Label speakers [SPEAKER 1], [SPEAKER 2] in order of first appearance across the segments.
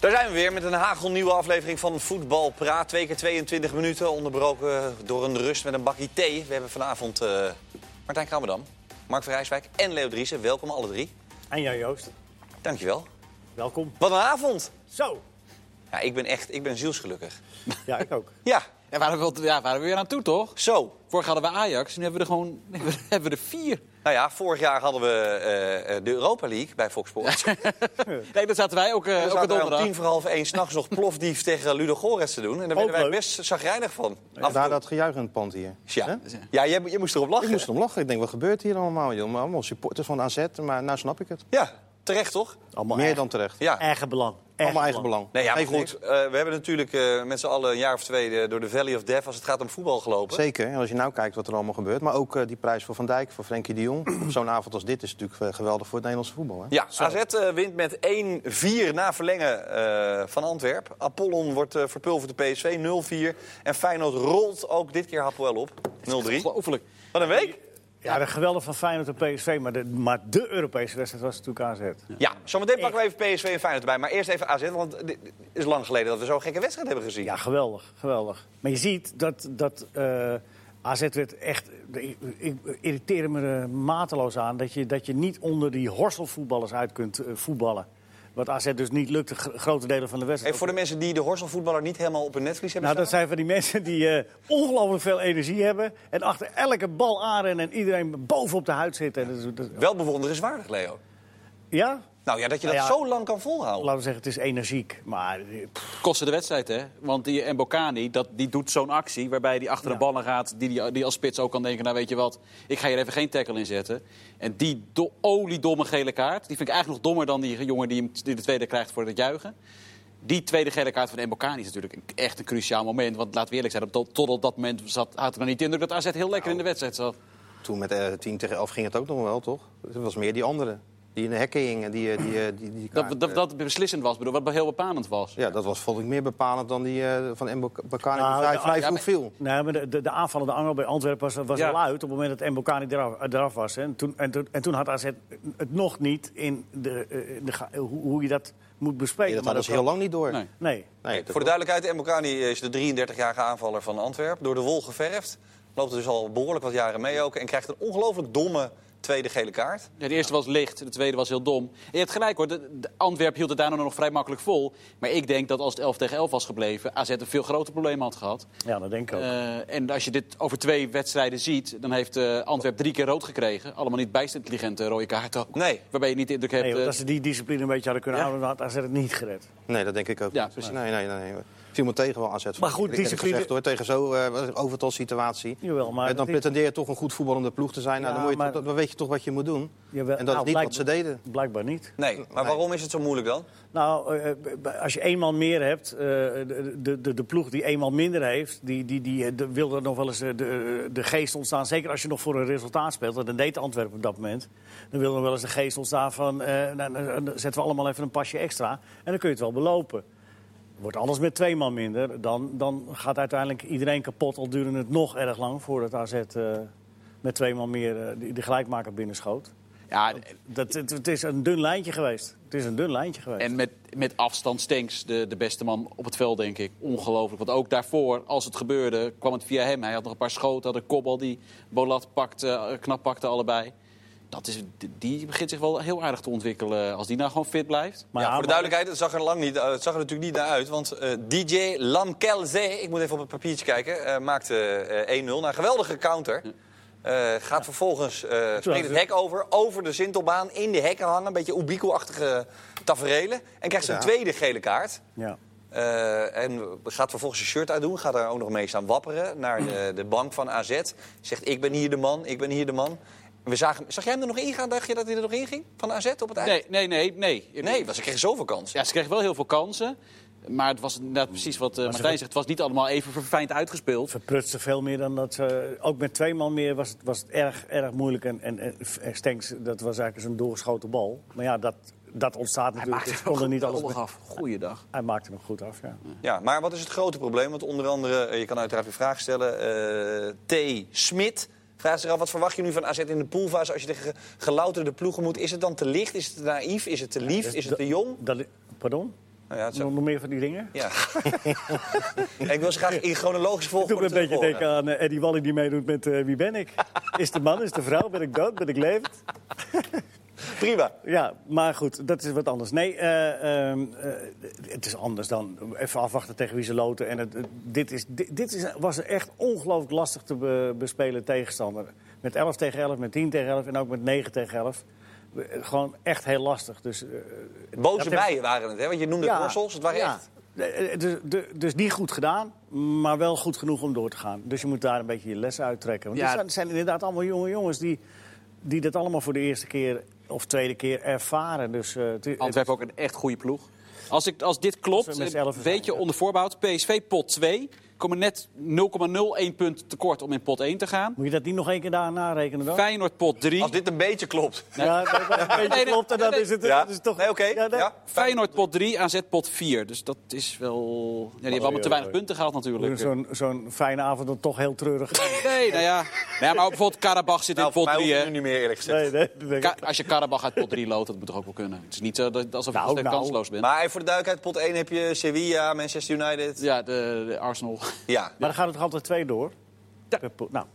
[SPEAKER 1] Daar zijn we weer met een hagelnieuwe aflevering van Voetbal Praat. Twee keer 22 minuten, onderbroken door een rust met een bakje thee. We hebben vanavond eh, Martijn Krabbedam, Mark Verijswijk en Leo Driessen. Welkom alle drie.
[SPEAKER 2] En jij Joost,
[SPEAKER 1] Dankjewel.
[SPEAKER 2] welkom.
[SPEAKER 1] Wat een avond!
[SPEAKER 2] Zo!
[SPEAKER 1] Ja, ik ben echt, ik ben zielsgelukkig.
[SPEAKER 2] Ja, ik ook.
[SPEAKER 1] Ja,
[SPEAKER 3] Ja, waren we, wel- ja, waren we weer aan toe, toch?
[SPEAKER 1] zo.
[SPEAKER 3] Vorig hadden we Ajax, nu hebben we er gewoon hebben we, hebben we er vier.
[SPEAKER 1] Nou ja, vorig jaar hadden we eh, eh, de Europa League bij Fox Sports.
[SPEAKER 3] Nee, dat zaten wij ook, eh
[SPEAKER 1] We
[SPEAKER 3] ook een
[SPEAKER 1] zaten daar om
[SPEAKER 3] donderdag.
[SPEAKER 1] tien voor half één s'nachts nog plofdief tegen Ludo Gorets te doen. En daar
[SPEAKER 2] Ook
[SPEAKER 1] werden wij
[SPEAKER 2] leuk.
[SPEAKER 1] best zagrijnig van.
[SPEAKER 4] Ja,
[SPEAKER 1] Af en
[SPEAKER 4] daar
[SPEAKER 1] toe.
[SPEAKER 4] dat gejuich in het pand hier. Hè?
[SPEAKER 1] Ja, ja jij, jij moest erop lachen.
[SPEAKER 4] Ik moest om lachen. Ik denk, wat gebeurt hier allemaal? Joh? Maar Allemaal supporters van AZ, maar nou snap ik het.
[SPEAKER 1] Ja, terecht toch?
[SPEAKER 2] Allemaal
[SPEAKER 4] Meer
[SPEAKER 2] eigen,
[SPEAKER 4] dan terecht.
[SPEAKER 1] Ja.
[SPEAKER 2] eigen belang. Eigen
[SPEAKER 4] allemaal eigen belang.
[SPEAKER 1] Nee, ja, maar
[SPEAKER 4] Geeft
[SPEAKER 1] goed,
[SPEAKER 4] niks.
[SPEAKER 1] eh, we hebben natuurlijk eh, met z'n allen een jaar of twee eh, door de Valley of Death als het gaat om voetbal gelopen.
[SPEAKER 4] Zeker, en als je nou kijkt wat er allemaal gebeurt. Maar ook eh, die prijs voor Van Dijk, voor Frenkie de Jong. Op Zo'n avond als dit is natuurlijk eh, geweldig voor het Nederlandse voetbal. Hè?
[SPEAKER 1] Ja, AZ eh, wint met 1-4 na verlengen eh, van Antwerpen. Apollon wordt eh, verpulverd de PSV 0-4. En Feyenoord rolt ook dit keer Hapoel op 0-3.
[SPEAKER 3] Ongelooflijk.
[SPEAKER 1] Wat een week!
[SPEAKER 2] Ja, de geweldig van Feyenoord en PSV, maar de, maar de Europese wedstrijd was natuurlijk AZ.
[SPEAKER 1] Ja, zometeen pakken we even PSV en Feyenoord erbij. Maar eerst even AZ, want het is lang geleden dat we zo'n gekke wedstrijd hebben gezien.
[SPEAKER 2] Ja, geweldig, geweldig. Maar je ziet dat, dat eh, AZ werd echt... Ik, ik irriteerde me er mateloos aan dat je, dat je niet onder die horselvoetballers uit kunt eh, voetballen. Wat AZ dus niet lukte, gr- grote delen van de wedstrijd.
[SPEAKER 1] Even voor de mensen die de horselvoetballer niet helemaal op hun netvlies hebben
[SPEAKER 2] Nou, dat
[SPEAKER 1] staan.
[SPEAKER 2] zijn van die mensen die eh, ongelooflijk veel energie hebben... en achter elke bal aanrennen en iedereen bovenop de huid zitten. En dat, is- dat-
[SPEAKER 1] Wel bewonderenswaardig, Leo.
[SPEAKER 2] ja?
[SPEAKER 1] Nou ja, dat je dat
[SPEAKER 2] Nou ja,
[SPEAKER 1] zo lang kan volhouden.
[SPEAKER 2] Laten we zeggen, het is energiek. Maar eh, pff,
[SPEAKER 3] Kostte de wedstrijd, hè? Want die Embokani, dat, die doet zo'n actie waarbij die achter de
[SPEAKER 2] Ja.
[SPEAKER 3] ballen gaat. Die, die, die als spits ook kan denken, nou weet je wat, ik ga hier even geen tackle in zetten. En die do, oliedomme gele kaart, die vind ik eigenlijk nog dommer dan die jongen die, hem, die de tweede krijgt voor het juichen. Die tweede gele kaart van Embokani is natuurlijk een- echt een cruciaal moment. Want laten we eerlijk zijn, op, tot, tot op dat moment zat, had ik nog niet de indruk dat AZ heel
[SPEAKER 1] Nou,
[SPEAKER 3] lekker in de wedstrijd zat.
[SPEAKER 4] Toen met eh 10 tegen 11 ging het ook nog wel, toch? Het was meer die anderen. Die in de hekken hingen, die, eh, die, eh, die, die
[SPEAKER 3] Dat,
[SPEAKER 4] kaart,
[SPEAKER 3] dat,
[SPEAKER 4] eh,
[SPEAKER 3] dat beslissend was, bedoel, wat heel bepalend was.
[SPEAKER 4] Ja, dat was vond ik meer bepalend dan die eh, van Embo Bakani.
[SPEAKER 2] Nou,
[SPEAKER 4] die vrij,
[SPEAKER 2] de-
[SPEAKER 4] vrij
[SPEAKER 3] ja,
[SPEAKER 4] vroeg
[SPEAKER 3] maar-
[SPEAKER 4] viel.
[SPEAKER 2] nee, Nou, maar de, de, de aanvallende angel bij Antwerpen was, was
[SPEAKER 3] Ja.
[SPEAKER 2] al uit... op het moment dat Mbokani eraf, eh, eraf was. Hè. En, toen, en, toen, en toen had AZ het nog niet in de, eh, de, ga- hoe, hoe je dat moet bespreken.
[SPEAKER 4] Nee,
[SPEAKER 2] Maar
[SPEAKER 4] dat hadden ze heel lang niet door.
[SPEAKER 3] Nee.
[SPEAKER 2] Nee.
[SPEAKER 4] Nee, dat-
[SPEAKER 1] Voor de duidelijkheid, Mbokani eh, is de 33-jarige aanvaller van Antwerpen. Door de wol geverfd. Loopt er dus al behoorlijk wat jaren mee ook. En krijgt een ongelooflijk domme tweede gele kaart.
[SPEAKER 3] Ja, de eerste was licht, de tweede was heel dom. En je hebt gelijk hoor, de, de Antwerp hield het daarna nog vrij makkelijk vol. Maar ik denk dat als het 11 tegen 11 was gebleven, AZ een veel groter probleem had gehad.
[SPEAKER 2] Ja, dat denk ik ook.
[SPEAKER 3] Eh, en als je dit over twee wedstrijden ziet, dan heeft eh Antwerp drie keer rood gekregen. Allemaal niet bijst intelligente rode kaarten ook.
[SPEAKER 1] Nee.
[SPEAKER 3] Waarbij je niet de indruk hebt...
[SPEAKER 2] nee,
[SPEAKER 3] eh,
[SPEAKER 2] want als ze die discipline een beetje hadden kunnen
[SPEAKER 3] Ja.
[SPEAKER 2] houden... dan had AZ het niet gered.
[SPEAKER 4] Nee, dat denk ik ook
[SPEAKER 3] Ja,
[SPEAKER 4] niet.
[SPEAKER 3] precies.
[SPEAKER 4] Nee, nee, nee. nee. Viel me tegen wel AZ.
[SPEAKER 2] Maar goed,
[SPEAKER 4] Ik heb het
[SPEAKER 2] discipline-
[SPEAKER 4] gezegd hoor, tegen zo'n eh overtal situatie.
[SPEAKER 2] Jawel, maar
[SPEAKER 4] dan
[SPEAKER 2] het is-
[SPEAKER 4] pretendeer je toch een goed voetballende ploeg te zijn. nou,
[SPEAKER 2] Ja,
[SPEAKER 4] dan, moet je
[SPEAKER 2] maar-
[SPEAKER 4] toch- dan weet je toch wat je moet doen.
[SPEAKER 2] Jawel,
[SPEAKER 4] en dat
[SPEAKER 2] nou,
[SPEAKER 4] is niet wat ze
[SPEAKER 2] blijkbaar-
[SPEAKER 4] deden.
[SPEAKER 2] Blijkbaar niet.
[SPEAKER 1] Nee, maar waarom is het zo moeilijk dan?
[SPEAKER 2] Nou, eh, b- b- als je één man meer hebt, eh, de, de, de, de ploeg die één man minder heeft, die, die, die eh, de- wil er nog wel eens eh, de, de geest ontstaan. Zeker als je nog voor een resultaat speelt, en dat deed Antwerpen op dat moment. Dan wil er nog wel eens de geest ontstaan van, eh, nou, nou, nou, zetten we allemaal even een pasje extra. En dan kun je het wel belopen. Wordt alles met twee man minder, dan, dan gaat uiteindelijk iedereen kapot. Al duurde het nog erg lang voordat AZ eh, met twee man meer eh, die de gelijkmaker binnenschoot.
[SPEAKER 3] ja,
[SPEAKER 2] Dat, het, het is een dun lijntje geweest. Het is een dun lijntje geweest.
[SPEAKER 3] en met, met afstand Stenks, de, de beste man op het veld, denk ik. Ongelooflijk. Want ook daarvoor, als het gebeurde, kwam het via hem. Hij had nog een paar schoten, had een kopbal die Bolat pakte, eh, knap pakte allebei. Dat is, die begint zich wel heel aardig te ontwikkelen. Als die nou gewoon fit blijft.
[SPEAKER 2] Maar
[SPEAKER 1] ja, voor de
[SPEAKER 2] maar-
[SPEAKER 1] duidelijkheid, het zag er lang niet, eh, het zag er natuurlijk niet naar uit. Want eh, DJ Lamkelze, ik moet even op het papiertje kijken, eh, maakte eh, 1-0 na een geweldige counter. Eh, gaat vervolgens eh springt het hek over, over de Sintelbaan, in de hekken hangen. Een beetje Ubico-achtige taferelen. En krijgt zijn
[SPEAKER 4] Ja.
[SPEAKER 1] tweede gele kaart.
[SPEAKER 2] Ja.
[SPEAKER 1] Eh, en gaat vervolgens zijn shirt uitdoen. Gaat daar ook nog mee staan wapperen naar de, de bank van AZ. Zegt, ik ben hier de man, ik ben hier de man. En we zagen, zag jij hem er nog in gaan? Dacht je dat hij er nog in ging? Van AZ op het eind?
[SPEAKER 3] Nee, nee, nee. Nee,
[SPEAKER 1] Nee, want ze kregen zoveel kans.
[SPEAKER 3] Ja, ze kregen wel heel veel kansen. Maar het was inderdaad precies wat eh, Martijn zegt. Het was niet allemaal even verfijnd uitgespeeld.
[SPEAKER 2] verprutste veel meer dan dat ze... Ook met twee man meer was het, was het erg, erg moeilijk. En, en, en Stenks, dat was eigenlijk zo'n doorgeschoten bal. Maar ja, dat, dat ontstaat natuurlijk. Ze konden niet alles mee.
[SPEAKER 3] af. Goeiedag.
[SPEAKER 2] Hij maakte hem goed af, ja.
[SPEAKER 1] Ja, maar wat is het grote probleem? Want onder andere, eh, je kan uiteraard weer vragen stellen. eh, T. Smit vraagt zich af, wat verwacht je nu van AZ in de poolfase... als je tegen ge- gelouterde ploegen moet? Is het dan te licht? Is het te naïef? Is het te lief? Is het te jong?
[SPEAKER 2] Dat, pardon?
[SPEAKER 1] Nou ja, het
[SPEAKER 2] Nog,
[SPEAKER 1] zou-
[SPEAKER 2] nog meer van die dingen?
[SPEAKER 1] ja. ik wil ze graag in chronologische
[SPEAKER 2] Ik doe me
[SPEAKER 1] volgorde
[SPEAKER 2] een beetje
[SPEAKER 1] terughoren.
[SPEAKER 2] denken aan eh, Eddie Wally die meedoet met eh, Wie ben ik? Is de man, is de vrouw, ben ik dood, ben ik levend?
[SPEAKER 1] Prima.
[SPEAKER 2] Ja, maar goed, dat is wat anders. Nee, eh, ehm, eh, het is anders dan even afwachten tegen wie ze loten. En het, het- dit is, dit, dit is, was echt ongelooflijk lastig te be- bespelen tegenstander. Met 11 tegen 11, met 10 tegen 11 en ook met 9 tegen 11. We- eh, Gewoon echt heel lastig. Dus, eh,
[SPEAKER 1] Boze
[SPEAKER 2] Dat
[SPEAKER 1] bijen waren het, hè? Want je noemde het morsels. Het waren
[SPEAKER 2] ja.
[SPEAKER 1] echt...
[SPEAKER 2] Eh, eh, Dus, de- dus niet goed gedaan, maar wel goed genoeg om door te gaan. Dus je moet daar een beetje je les uittrekken. Want
[SPEAKER 3] Ja.
[SPEAKER 2] dit zijn, zijn inderdaad allemaal jonge jongens die, die dit allemaal voor de eerste keer of tweede keer ervaren. Dus, eh, het- het-
[SPEAKER 3] Antwerpen ook een echt goede ploeg. Als, ik, als dit
[SPEAKER 2] Als
[SPEAKER 3] klopt,
[SPEAKER 2] we met z'n
[SPEAKER 3] een
[SPEAKER 2] elfen zijn,
[SPEAKER 3] beetje
[SPEAKER 2] ja.
[SPEAKER 3] onder voorbehoud. PSV pot 2. Komen net 0,01 punt tekort om in pot 1 te gaan.
[SPEAKER 2] Moet je dat niet nog één keer daarna rekenen dan?
[SPEAKER 3] Feyenoord pot 3.
[SPEAKER 1] Als dit een beetje klopt.
[SPEAKER 2] Ja, dat dat een
[SPEAKER 3] Nee,
[SPEAKER 2] beetje
[SPEAKER 3] nee,
[SPEAKER 2] klopt en dan
[SPEAKER 3] nee.
[SPEAKER 2] is het
[SPEAKER 1] Ja.
[SPEAKER 2] dat is toch...
[SPEAKER 1] Nee, oké.
[SPEAKER 2] Ja, dat-
[SPEAKER 1] Ja.
[SPEAKER 3] Feyenoord pot 3, AZ pot 4. Dus dat is wel... Ja, die hebben allemaal te weinig punten gehaald natuurlijk.
[SPEAKER 2] Zo'n zo'n fijne avond dan toch heel treurig.
[SPEAKER 3] Nee, nou ja. Nou ja, maar ook bijvoorbeeld Karabach zit
[SPEAKER 1] Nou,
[SPEAKER 3] in
[SPEAKER 1] voor
[SPEAKER 3] pot
[SPEAKER 1] mij
[SPEAKER 3] 3,
[SPEAKER 1] hoeft het
[SPEAKER 3] hè.
[SPEAKER 1] nu niet meer, eerlijk gezegd.
[SPEAKER 2] Nee, nee, dat denk ik.
[SPEAKER 3] Ka- als je Karabach uit pot 3 loopt, dat moet toch ook wel kunnen. Het is niet zo dat, alsof je
[SPEAKER 2] Nou,
[SPEAKER 3] volstrekt
[SPEAKER 2] nou.
[SPEAKER 3] kansloos bent.
[SPEAKER 1] Maar even voor de duidelijkheid, pot 1 heb je Sevilla, Manchester United. Ja.
[SPEAKER 3] Ja, de, de Arsenal.
[SPEAKER 2] Maar dan gaat het toch altijd twee door?
[SPEAKER 3] Ja.
[SPEAKER 2] Per poel. Nou,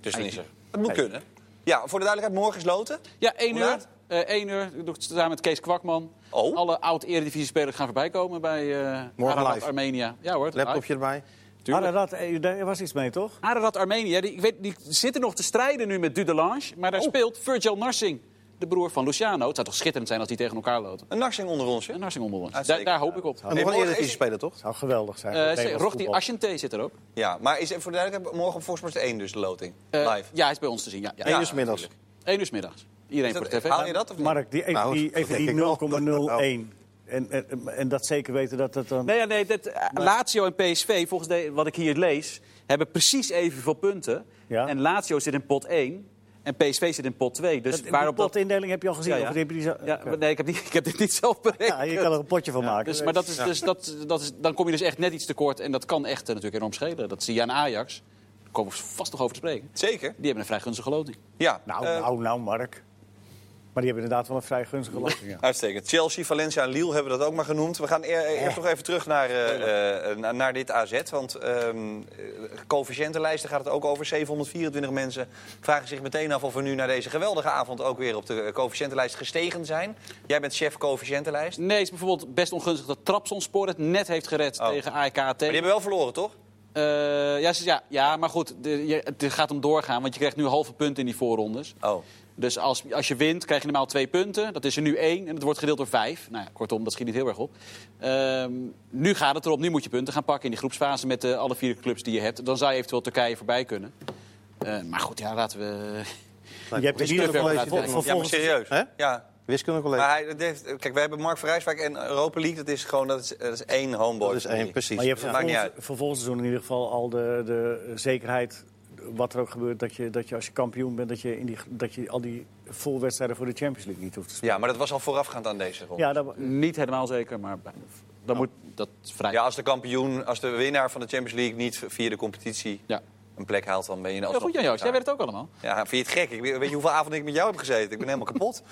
[SPEAKER 1] dus dan is er. Het moet kunnen. Ja, voor de duidelijkheid, morgen is loten.
[SPEAKER 3] Ja, 1
[SPEAKER 1] Hoe
[SPEAKER 3] uur.
[SPEAKER 1] laat?
[SPEAKER 3] Eh 1 uur. Ik doe het samen met Kees Kwakman.
[SPEAKER 1] Oh.
[SPEAKER 3] Alle oud-eredivisie-spelers gaan voorbij komen bij eh
[SPEAKER 4] Morgen
[SPEAKER 3] Ararat
[SPEAKER 4] live.
[SPEAKER 3] Armenia. Ja hoor, live.
[SPEAKER 4] Laptopje erbij.
[SPEAKER 3] Tuurlijk.
[SPEAKER 2] Ararat, eh, daar was iets mee, toch?
[SPEAKER 3] Ararat Armenia, die, ik weet, die zitten nog te strijden nu met Dudelange. Maar
[SPEAKER 1] Oh.
[SPEAKER 3] daar speelt Virgil Narsing, de broer van Luciano. Het zou toch schitterend zijn als die tegen elkaar loten.
[SPEAKER 1] Een narsing onder ons, hè?
[SPEAKER 3] En Narsing onder ons. Daar,
[SPEAKER 1] Uitstekend.
[SPEAKER 3] daar hoop ik op.
[SPEAKER 4] En nog een
[SPEAKER 1] morgen is-
[SPEAKER 4] Eredivisie spelen, toch?
[SPEAKER 2] Zou geweldig zijn. voor het
[SPEAKER 3] Eh
[SPEAKER 2] Nederlands
[SPEAKER 3] Rochti
[SPEAKER 2] voetbal.
[SPEAKER 3] Ashanté zit er ook.
[SPEAKER 1] Ja, maar is, voor de duidelijkheid, morgen op Fox Sports 1 dus de loting.
[SPEAKER 3] Eh,
[SPEAKER 1] Live.
[SPEAKER 3] Ja, hij is bij ons te zien. Ja, ja.
[SPEAKER 4] Eén uur 's middags.
[SPEAKER 3] 1 uur 's middags.
[SPEAKER 1] Is
[SPEAKER 3] Iedereen
[SPEAKER 1] dat-
[SPEAKER 3] voor de tv.
[SPEAKER 1] haal je dat of niet?
[SPEAKER 2] Mark, die, even
[SPEAKER 4] Nou,
[SPEAKER 2] die,
[SPEAKER 4] dat
[SPEAKER 2] even
[SPEAKER 4] denk
[SPEAKER 2] die
[SPEAKER 4] ik wel.
[SPEAKER 2] 0,01. En, en, en dat zeker weten dat dat dan...
[SPEAKER 3] Nee, ja, nee dat, eh, Lazio en PSV, volgens de, wat ik hier lees, hebben precies evenveel punten.
[SPEAKER 2] Ja.
[SPEAKER 3] En Lazio zit in pot 1 en PSV zit in pot 2. Dus
[SPEAKER 2] dat,
[SPEAKER 3] waarop
[SPEAKER 2] die
[SPEAKER 3] dat...
[SPEAKER 2] potindeling heb je al gezien?
[SPEAKER 3] Ja, ja.
[SPEAKER 2] Of die heb je die zo-
[SPEAKER 3] Ja,
[SPEAKER 2] Oké.
[SPEAKER 3] nee, ik heb, niet, ik heb dit niet zelf berekend.
[SPEAKER 2] Ja, je kan er een potje van maken.
[SPEAKER 3] Dus, maar dat is, dus, dat, dat is, dan kom je dus echt net iets tekort. En dat kan echt eh, natuurlijk enorm schelen. Dat zie je aan Ajax. Daar komen we vast nog over te spreken.
[SPEAKER 1] Zeker.
[SPEAKER 3] Die hebben een vrij gunstige loting.
[SPEAKER 1] Ja.
[SPEAKER 2] Nou,
[SPEAKER 1] eh,
[SPEAKER 2] nou, nou, Mark. Maar die hebben inderdaad wel een vrij gunstige loting. ja.
[SPEAKER 1] Uitstekend. Chelsea, Valencia en Lille hebben dat ook maar genoemd. We gaan e- e- eerst nog even terug naar, eh, eh, na- naar dit AZ. Want ehm eh, coëfficiëntenlijsten gaat het ook over. 724 mensen vragen zich meteen af of we nu na deze geweldige avond... ook weer op de eh, coëfficiëntenlijst gestegen zijn. Jij bent chef coëfficiëntenlijst. Maar
[SPEAKER 3] Nee, het is bijvoorbeeld best ongunstig dat Trabzonspor het net heeft gered
[SPEAKER 1] Oh.
[SPEAKER 3] tegen AEK
[SPEAKER 1] die hebben wel verloren, toch?
[SPEAKER 3] Eh, ja, ze- ja, ja, maar goed, de, je, het gaat om doorgaan, want je krijgt nu halve punten in die voorrondes.
[SPEAKER 1] Oh.
[SPEAKER 3] Dus als, als je wint, krijg je normaal twee punten. Dat is er nu één en het wordt gedeeld door vijf. Nou ja, kortom, dat schiet niet heel erg op. Ehm, nu gaat het erop, nu moet je punten gaan pakken in die groepsfase met eh, alle vier clubs die je hebt. Dan zou je eventueel Turkije voorbij kunnen. Eh, maar goed, ja, laten we...
[SPEAKER 2] Je hebt in ieder geval
[SPEAKER 3] Wiskundecollege
[SPEAKER 2] voor-
[SPEAKER 3] denk ik.
[SPEAKER 2] voor-
[SPEAKER 1] Ja, maar
[SPEAKER 2] volgens-
[SPEAKER 1] serieus.
[SPEAKER 4] Hè?
[SPEAKER 1] Ja. Maar
[SPEAKER 4] Wiskundecollege.
[SPEAKER 1] hij, dat heeft- kijk, we hebben Mark van Rijswijk en Europa League. Dat is gewoon dat is, eh, dat is één homeboy.
[SPEAKER 4] Dat is één, precies.
[SPEAKER 2] Maar je hebt
[SPEAKER 1] Ja, maakt niet
[SPEAKER 2] vervolgens- voor volgend seizoen in ieder geval al de, de zekerheid... wat er ook gebeurt, dat je, dat je als je kampioen bent... Dat je, in die, dat je al die voorwedstrijden voor de Champions League niet hoeft te spelen.
[SPEAKER 1] Ja, maar dat was al voorafgaand aan deze ronde.
[SPEAKER 2] Ja, dat,
[SPEAKER 3] Niet helemaal zeker, maar bijna. dan moet Oh, dat vrij...
[SPEAKER 1] Ja, als de kampioen, als de winnaar van de Champions League niet via de competitie
[SPEAKER 3] Ja.
[SPEAKER 1] een plek haalt, dan ben je
[SPEAKER 3] Ja,
[SPEAKER 1] alsnog
[SPEAKER 3] goed Jan Joost, jij weet het ook allemaal.
[SPEAKER 1] Ja, vind je het gek? Ik weet weet je hoeveel avonden ik met jou heb gezeten? Ik ben helemaal kapot.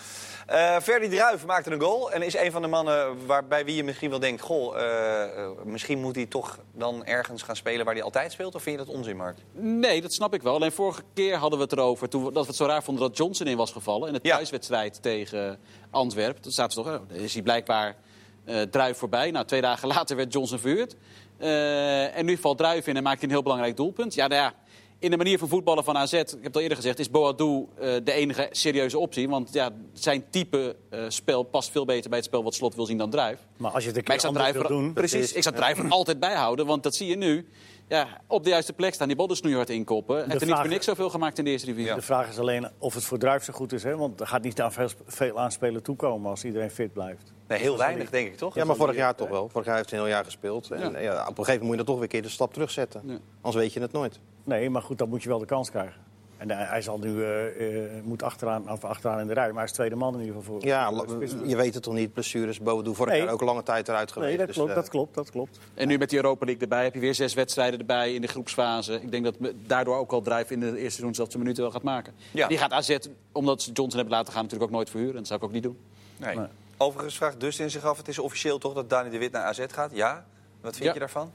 [SPEAKER 1] Eh Ferdi Druijf maakte een goal en is een van de mannen waarbij wie je misschien wel denkt... goh, eh, eh, misschien moet hij toch dan ergens gaan spelen waar hij altijd speelt? Of vind je dat onzin, Mark?
[SPEAKER 3] Nee, dat snap ik wel. Alleen vorige keer hadden we het erover toen we, dat we het zo raar vonden dat Johnson in was gevallen. In de
[SPEAKER 1] Ja.
[SPEAKER 3] thuiswedstrijd tegen Antwerpen. Toen zaten ze toch, oh, dan is hij blijkbaar eh druif voorbij. Nou, twee dagen later werd Johnson verhuurd. Eh, en nu valt druif in en maakt hij een heel belangrijk doelpunt. Ja, nou ja, in de manier van voetballen van AZ, ik heb het al eerder gezegd, is Boadu eh, de enige serieuze optie. Want ja, zijn type eh, spel past veel beter bij het spel wat Slot wil zien dan druif.
[SPEAKER 2] maar als je het een
[SPEAKER 3] Maar
[SPEAKER 2] keer
[SPEAKER 3] ik zou
[SPEAKER 2] anders
[SPEAKER 3] Drijver
[SPEAKER 2] wil doen...
[SPEAKER 3] precies, ik zou Drijver altijd bijhouden, want dat zie je nu. Ja, op de juiste plek staan, die bal dus snoeihard inkoppen. Hij heeft er niet
[SPEAKER 2] vraag-
[SPEAKER 3] voor niks zoveel gemaakt in de eerste divisie.
[SPEAKER 1] Ja.
[SPEAKER 2] De vraag is alleen of het voor Druif zo goed is. Hè? Want er gaat niet aan veel, veel aan spelen toekomen als iedereen fit blijft.
[SPEAKER 1] Nee, heel weinig, denk ik, toch?
[SPEAKER 4] Ja, maar vorig jaar toch wel. Vorig jaar heeft hij een heel jaar gespeeld. En
[SPEAKER 3] Ja.
[SPEAKER 4] ja. op een gegeven moment moet je dan toch weer een keer de stap terugzetten.
[SPEAKER 3] Ja.
[SPEAKER 4] Anders weet je het nooit.
[SPEAKER 2] Nee, maar goed, dan moet je wel de kans krijgen. En hij, hij zal nu eh, eh, moet achteraan, of achteraan in de rij, maar hij is tweede man in ieder geval voor.
[SPEAKER 4] Ja,
[SPEAKER 2] voor de
[SPEAKER 4] la-
[SPEAKER 2] spits.
[SPEAKER 4] je weet het toch niet. Blessures, Bodo vorig
[SPEAKER 2] Nee.
[SPEAKER 4] jaar ook lange tijd eruit geweest.
[SPEAKER 2] Nee, dat
[SPEAKER 4] Dus,
[SPEAKER 2] klopt,
[SPEAKER 4] eh,
[SPEAKER 2] dat klopt, dat klopt.
[SPEAKER 3] En nu met die Europa League erbij heb je weer zes wedstrijden erbij in de groepsfase. Ik denk dat me- daardoor ook al Drijf in het eerste seizoen zelfs zijn minuten wel gaat maken.
[SPEAKER 1] Ja.
[SPEAKER 3] Die gaat AZ, omdat ze Johnson hebben laten gaan, natuurlijk ook nooit verhuren. En dat zou ik ook niet doen.
[SPEAKER 1] Nee. Oké, Overigens vraagt Dustin zich af, het is officieel toch dat Dani de Wit naar AZ gaat? Ja? Wat vind
[SPEAKER 3] Ja.
[SPEAKER 1] je daarvan?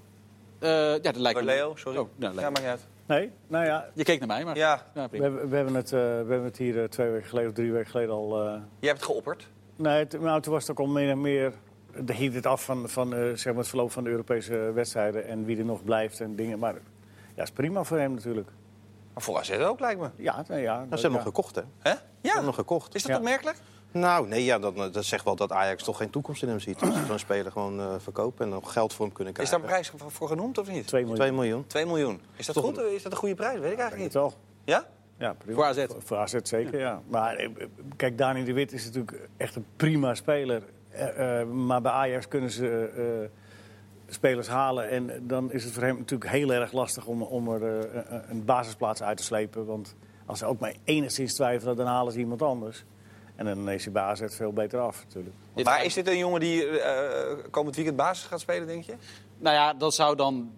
[SPEAKER 3] Eh, ja, dat lijkt
[SPEAKER 1] Door
[SPEAKER 3] me...
[SPEAKER 1] Leo, sorry.
[SPEAKER 3] Oh, nou,
[SPEAKER 1] ja,
[SPEAKER 3] lijkt me-
[SPEAKER 1] maakt niet uit.
[SPEAKER 2] Nee, nou ja,
[SPEAKER 3] Je keek naar mij, maar...
[SPEAKER 1] Ja,
[SPEAKER 2] we
[SPEAKER 3] prima.
[SPEAKER 2] hebben, we hebben, het, eh, we hebben het hier eh, twee weken geleden of drie weken geleden al... eh,
[SPEAKER 1] jij hebt het geopperd.
[SPEAKER 2] Nee, het, nou, toen was het ook al meer en meer. Er hield het af van, van eh, zeg maar het verloop van de Europese wedstrijden en wie er nog blijft en dingen. Maar ja, is prima voor hem natuurlijk.
[SPEAKER 1] Maar voor AZ ook, lijkt me.
[SPEAKER 2] Ja, nou ja.
[SPEAKER 4] Nou, ze hebben hem gekocht, hè? Ze
[SPEAKER 1] Hè? Ja.
[SPEAKER 4] hebben hem gekocht.
[SPEAKER 1] Is dat
[SPEAKER 2] Ja.
[SPEAKER 1] opmerkelijk?
[SPEAKER 4] Nou, nee, ja, dat, dat zegt wel dat Ajax toch geen toekomst in hem ziet. Als ze zo'n speler gewoon eh, verkopen en nog geld voor hem kunnen
[SPEAKER 1] Is
[SPEAKER 4] krijgen.
[SPEAKER 1] daar een prijs voor voor genoemd of niet?
[SPEAKER 2] 2 miljoen.
[SPEAKER 4] 2 miljoen.
[SPEAKER 1] 2 miljoen. Is dat
[SPEAKER 4] Toch
[SPEAKER 1] goed? Is dat een goede prijs? Weet ik eigenlijk niet.
[SPEAKER 2] Toch?
[SPEAKER 1] Ja?
[SPEAKER 2] Ja, prima.
[SPEAKER 3] Voor AZ.
[SPEAKER 2] Voor, voor AZ zeker, ja. Maar eh, kijk, Dani de Wit is natuurlijk echt een prima speler. Eh, eh, maar bij Ajax kunnen ze eh, spelers halen. En dan is het voor hem natuurlijk heel erg lastig om, om er eh, een- een basisplaats uit te slepen. Want als ze ook maar enigszins twijfelen, dan halen ze iemand anders. En dan is hij bij AZ veel beter af natuurlijk.
[SPEAKER 3] Dit
[SPEAKER 1] Maar
[SPEAKER 3] gaat-
[SPEAKER 1] is dit een jongen die eh, komend weekend basis gaat spelen, denk je?
[SPEAKER 3] Nou ja, dat zou dan